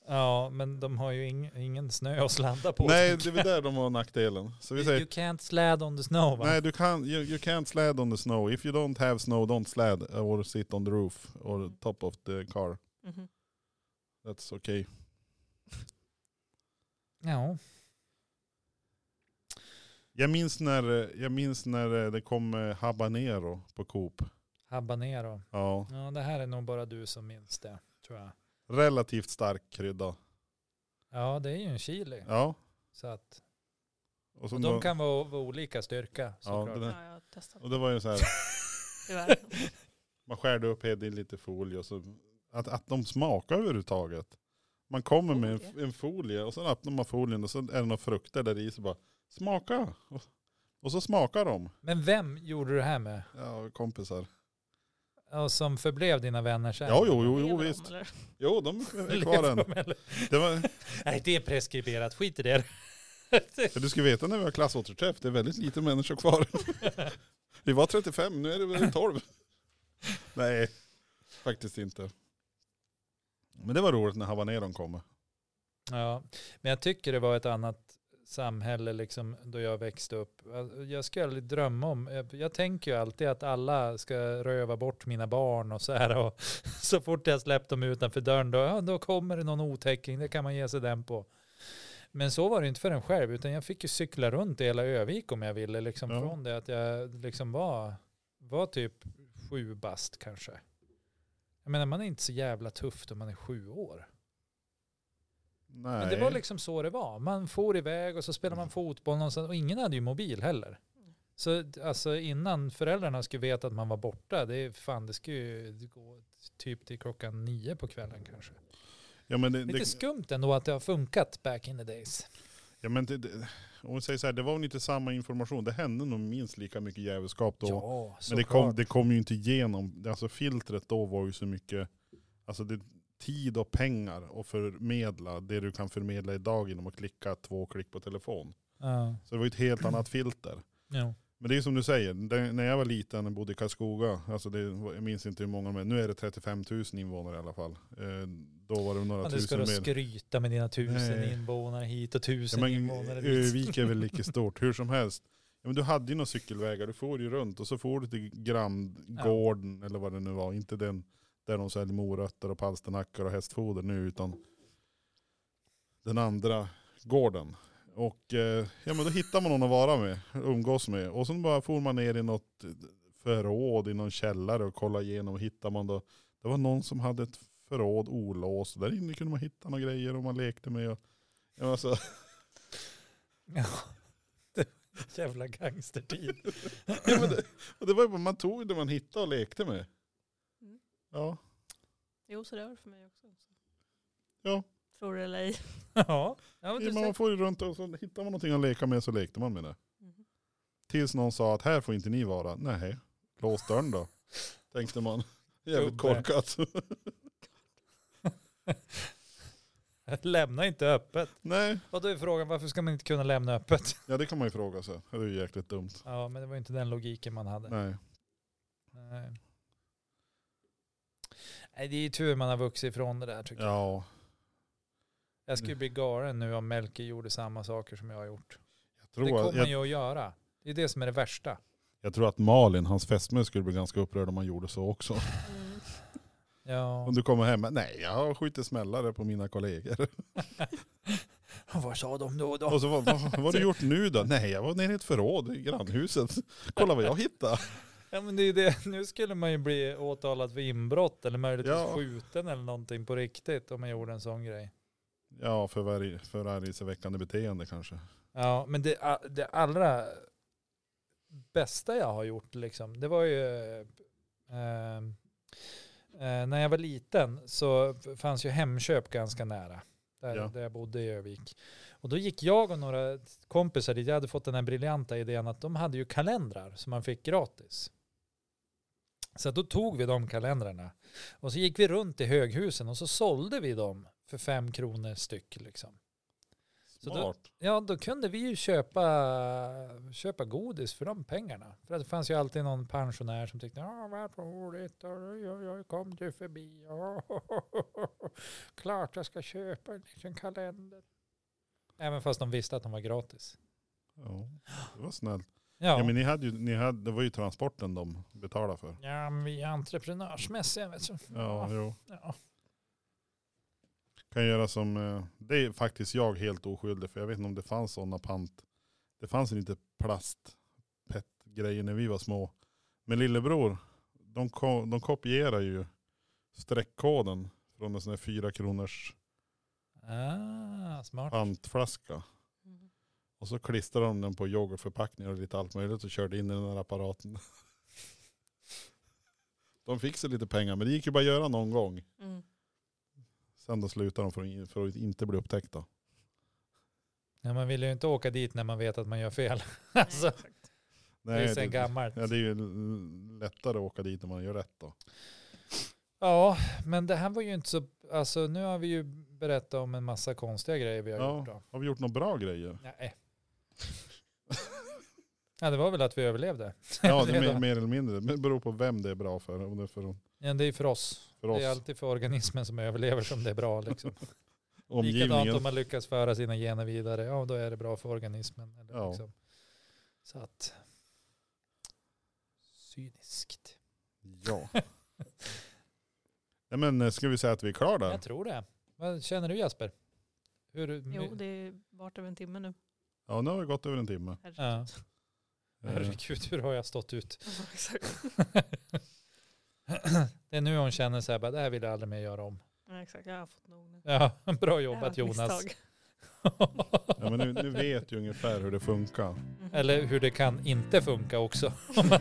Speaker 1: Ja, men de har ju ing, ingen snö att sladda [LAUGHS] på. Liksom.
Speaker 2: Nej, det är väl där de har nackdelen. Så vi
Speaker 1: You,
Speaker 2: säger,
Speaker 1: you can't slad on the snow va?
Speaker 2: nej du kan, you, you can't sled on the snow. If you don't have snow, don't sled or sit on the roof or
Speaker 1: Mm.
Speaker 2: top of the car.
Speaker 3: Mhm.
Speaker 2: That's okay.
Speaker 1: Ja.
Speaker 2: Jag minns när, eh, jag minns när eh, det kom eh, habanero på Coop.
Speaker 1: Habanero.
Speaker 2: Ja,
Speaker 1: Ja, det här är nog bara du som minns det, tror jag.
Speaker 2: relativt stark krydda.
Speaker 1: Ja, det är ju en chili.
Speaker 2: Ja.
Speaker 1: Så att,
Speaker 2: Och, så
Speaker 1: och de kan vara, vara olika styrka
Speaker 2: ja,
Speaker 1: såklart.
Speaker 2: det där.
Speaker 3: Ja, jag har testat.
Speaker 2: och det var ju så här. [LAUGHS]
Speaker 3: Tyvärr.
Speaker 2: Man skärde upp helt i lite folie och så att, att de smakar överhuvudtaget. Man kommer med en,
Speaker 3: Folie?
Speaker 2: en folie och sen öppnar man folien och så är det några frukter där i så bara smaka. Och, och så smakar de.
Speaker 1: Men vem gjorde du det här med?
Speaker 2: Ja, kompisar.
Speaker 1: Och som förblev dina vänner sen?
Speaker 2: Ja, jo, jo, jo
Speaker 3: Lever de,
Speaker 2: visst.
Speaker 3: eller?
Speaker 2: Jo, de är
Speaker 1: Lever
Speaker 2: kvar än.
Speaker 1: de eller?
Speaker 2: Det var,
Speaker 1: Nej, det är preskriberat. Skit i det.
Speaker 2: [LAUGHS] för du ska veta när vi har klassåterträff, det är väldigt lite människor kvar. Vi var 35, nu är det väl 12. Nej, faktiskt inte. Men det var roligt när habaneron kom.
Speaker 1: Ja, men jag tycker det var ett annat samhälle liksom då jag växte upp. Alltså, Jag skulle aldrig drömma om, jag- jag tänker ju alltid att alla ska röva bort mina barn och så här och [LAUGHS] så fort jag släppt dem utanför dörren då, ja, då kommer det någon otäcking, det kan man ge sig den på. Men så var det inte för en själv utan jag fick ju cykla runt i hela Övik om jag ville liksom
Speaker 2: Ja.
Speaker 1: från det att jag liksom var, var typ sju bast kanske. Jag menar man är inte så jävla tuff då man är sju år.
Speaker 2: Nej.
Speaker 1: Men det var liksom så det var. Man for iväg och så spelade man
Speaker 2: Mm.
Speaker 1: fotboll någonstans och ingen hade ju mobil heller. Så d- alltså innan föräldrarna skulle veta att man var borta, det är fan det skulle ju gå typ till klockan nio på kvällen kanske.
Speaker 2: ja, men det,
Speaker 1: Lite
Speaker 2: det,
Speaker 1: skumt ändå att det har funkat back in the days.
Speaker 2: Ja men det, det, om vi säger så här, det var väl inte samma information. Det hände nog minst lika mycket jävelskap då.
Speaker 1: ja,
Speaker 2: men det kom,
Speaker 1: såklart.
Speaker 2: det kom ju inte igenom. Alltså filtret då var ju så mycket, alltså det, tid och pengar att förmedla det du kan förmedla idag genom att klicka två klick på telefon.
Speaker 1: Ja,
Speaker 2: Så det var ju ett helt annat filter.
Speaker 1: jo.
Speaker 2: Men det är ju som du säger, det, när jag var liten och bodde i Karlskoga, alltså det, var- jag minns inte hur många de är, nu är det 35 000 invånare i alla fall. Eh, då var det några
Speaker 1: Men du ska
Speaker 2: tusen
Speaker 1: då
Speaker 2: mer.
Speaker 1: skryta med dina tusen
Speaker 2: Nej.
Speaker 1: invånare hit och
Speaker 2: Ja,
Speaker 1: tusen
Speaker 2: men eh,
Speaker 1: invånare dit.
Speaker 2: Ö-vik är väl lika stort, hur som helst. Ja, men du hade ju några cykelvägar, du for ju runt och så for du till Granngården eller vad det nu var. Inte den där de säljer morötter och palsternackor och hästfoder nu utan den andra gården. Och eh, ja, men då hittar man någon att vara med, umgås med. Och sen bara for man ner i något förråd i någon källare och kollade igenom. Och hittar man då, det var någon som hade ett förråd olåst. Där inne kunde man hitta några grejer och man lekte med. Och, ja, men alltså,
Speaker 1: Ja. Jävla gangstertid.
Speaker 2: [LAUGHS] Ja, men det, och det var ju bara, man tog det man hittade och lekte med.
Speaker 3: Mm.
Speaker 2: Ja,
Speaker 3: Jo, så det var det för mig också.
Speaker 2: Ja.
Speaker 3: Tror det eller ej.
Speaker 1: Ja, ja men du
Speaker 2: man
Speaker 1: ser.
Speaker 2: får ju runt och så hittar man någonting att leka med så lekte man med det.
Speaker 3: Mhm.
Speaker 2: Tills någon sa att här får inte ni vara. Nej, lås
Speaker 1: [LAUGHS]
Speaker 2: dörren då. Tänkte man. Jävligt
Speaker 1: Gubbe.
Speaker 2: korkat. [LAUGHS]
Speaker 1: Lämna inte öppet.
Speaker 2: Nej,
Speaker 1: Och då är frågan varför ska man inte kunna lämna öppet?
Speaker 2: ja det kan man ju fråga sig. Det är ju jäkligt dumt.
Speaker 1: Ja, men det var ju inte den logiken man hade.
Speaker 2: Nej.
Speaker 1: Nej. Nej, det är ju tur man har vuxit ifrån det där tycker jag.
Speaker 2: Ja.
Speaker 1: Jag skulle bli galen nu om Melke gjorde samma saker som jag har gjort.
Speaker 2: Jag tror,
Speaker 1: det
Speaker 2: att,
Speaker 1: kommer
Speaker 2: jag,
Speaker 1: ju att göra. Det är det som är det värsta.
Speaker 2: jag tror att Malin, hans fästmö, skulle bli ganska upprörd om han gjorde så också.
Speaker 3: Mm.
Speaker 1: Ja.
Speaker 2: Om du kommer hem, nej jag har skjutit smällare på mina kollegor.
Speaker 1: [LAUGHS] Vad sa de då? då?
Speaker 2: Och så, vad, vad, vad har du gjort nu då? Nej jag var nere i ett förråd i grannhuset. Kolla vad jag hittade.
Speaker 1: Ja, men det är det. Nu skulle man ju bli åtalad för inbrott eller möjligtvis
Speaker 2: Ja.
Speaker 1: skjuten eller någonting på riktigt om man gjorde en sån grej.
Speaker 2: Ja, förvär- förargelseväckande beteende kanske.
Speaker 1: Ja, men det, a- det allra bästa jag har gjort, liksom, det var ju eh, eh, när jag var liten så f- fanns ju Hemköp ganska nära. Där,
Speaker 2: Ja.
Speaker 1: där jag bodde i Övik. Och då gick jag och några kompisar dit. Jag hade fått den här briljanta idén att de hade ju kalendrar som man fick gratis. Så att då tog vi de kalendrarna och så gick vi runt i höghusen och så sålde vi dem för fem kronor styck. Liksom. Så då-
Speaker 2: Smart.
Speaker 1: Ja, då kunde vi ju köpa, köpa godis för de pengarna. För att det fanns ju alltid någon pensionär som tyckte, ja vad roligt, oj, oj, oj, kom du förbi, Ja, [LAUGHS] klart jag ska köpa en liten kalender. Även fast de visste att de var gratis.
Speaker 2: Ja, det var snällt.
Speaker 1: Ja,
Speaker 2: Ja, men ni hade ju, ni hade, det var ju transporten de betalade för.
Speaker 1: ja men vi är entreprenörsmässiga vet du.
Speaker 2: Ja, jo.
Speaker 1: Ja.
Speaker 2: Kan göra som, eh, det är faktiskt jag helt oskyldig för jag vet inte om det fanns sådana pant. Det fanns ju lite plast grejer när vi var små. Men lillebror, de, ko- de kopierar ju streckkoden från en sån här fyra kronors
Speaker 1: Ah, smart.
Speaker 2: pantflaska.
Speaker 3: Mhm.
Speaker 2: Och så klistrade de den på yoghurtförpackningar och lite allt möjligt och körde in i den här apparaten. [LAUGHS] De fick sig lite pengar men det gick ju bara att göra någon gång.
Speaker 3: Mm.
Speaker 2: Sen då slutade de för att, för att inte bli upptäckta.
Speaker 1: Ja, man vill ju inte åka dit när man vet att man gör fel. [LAUGHS] alltså, det är sen gammalt.
Speaker 2: ja, det är ju l- lättare att åka dit om man gör rätt då.
Speaker 1: Ja, men det här var ju inte så, alltså nu har vi ju berättat om en massa konstiga grejer vi har
Speaker 2: Ja.
Speaker 1: gjort då.
Speaker 2: Har vi gjort några
Speaker 1: [LAUGHS]
Speaker 2: bra grejer?
Speaker 1: Nej. ja, det var väl att vi överlevde.
Speaker 2: Ja, det
Speaker 1: Det är
Speaker 2: är mer,
Speaker 1: det.
Speaker 2: mer eller mindre. Men det beror på vem det är bra för. Om det är för,
Speaker 1: Men det är för oss.
Speaker 2: för
Speaker 1: Det är
Speaker 2: oss,
Speaker 1: alltid för organismen som överlever som det är bra. Liksom. Likadant
Speaker 2: [LAUGHS] omgivningen.
Speaker 1: om man lyckas föra sina gener vidare, ja då är det bra för organismen. Eller
Speaker 2: Ja.
Speaker 1: liksom. Så att, cyniskt. [LAUGHS]
Speaker 2: Ja. Nej, men eh, ska vi säga att vi är klara där?
Speaker 1: Jag tror det. Vad känner du Jasper? Hur,
Speaker 3: Jo, det är vart över en timme nu.
Speaker 2: Ja, nu har vi gått över en timme.
Speaker 1: ja.
Speaker 3: Herregud.
Speaker 2: Eh,
Speaker 1: Herregud, hur har jag stått ut?
Speaker 3: [LAUGHS] Ja, exakt.
Speaker 1: [CLEARS THROAT] Det är nu hon känner så här, bara, det här vill jag aldrig mer göra om. [LAUGHS]
Speaker 3: Ja, exakt. Jag har fått nog nu.
Speaker 1: Ja, bra
Speaker 3: Det här var
Speaker 1: jobbat
Speaker 3: ett [LAUGHS]
Speaker 1: Jonas.
Speaker 3: misstag.
Speaker 2: Ja, men nu, nu vet du ungefär hur det funkar.
Speaker 3: Mhm.
Speaker 1: Eller hur det kan inte funka också. [LAUGHS] Om
Speaker 3: [LAUGHS]
Speaker 1: man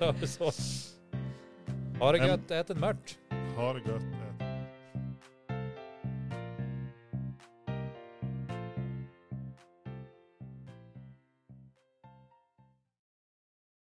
Speaker 1: gör så. Ha det
Speaker 2: Men-
Speaker 1: gött, ät en mört.
Speaker 2: Ha det gött.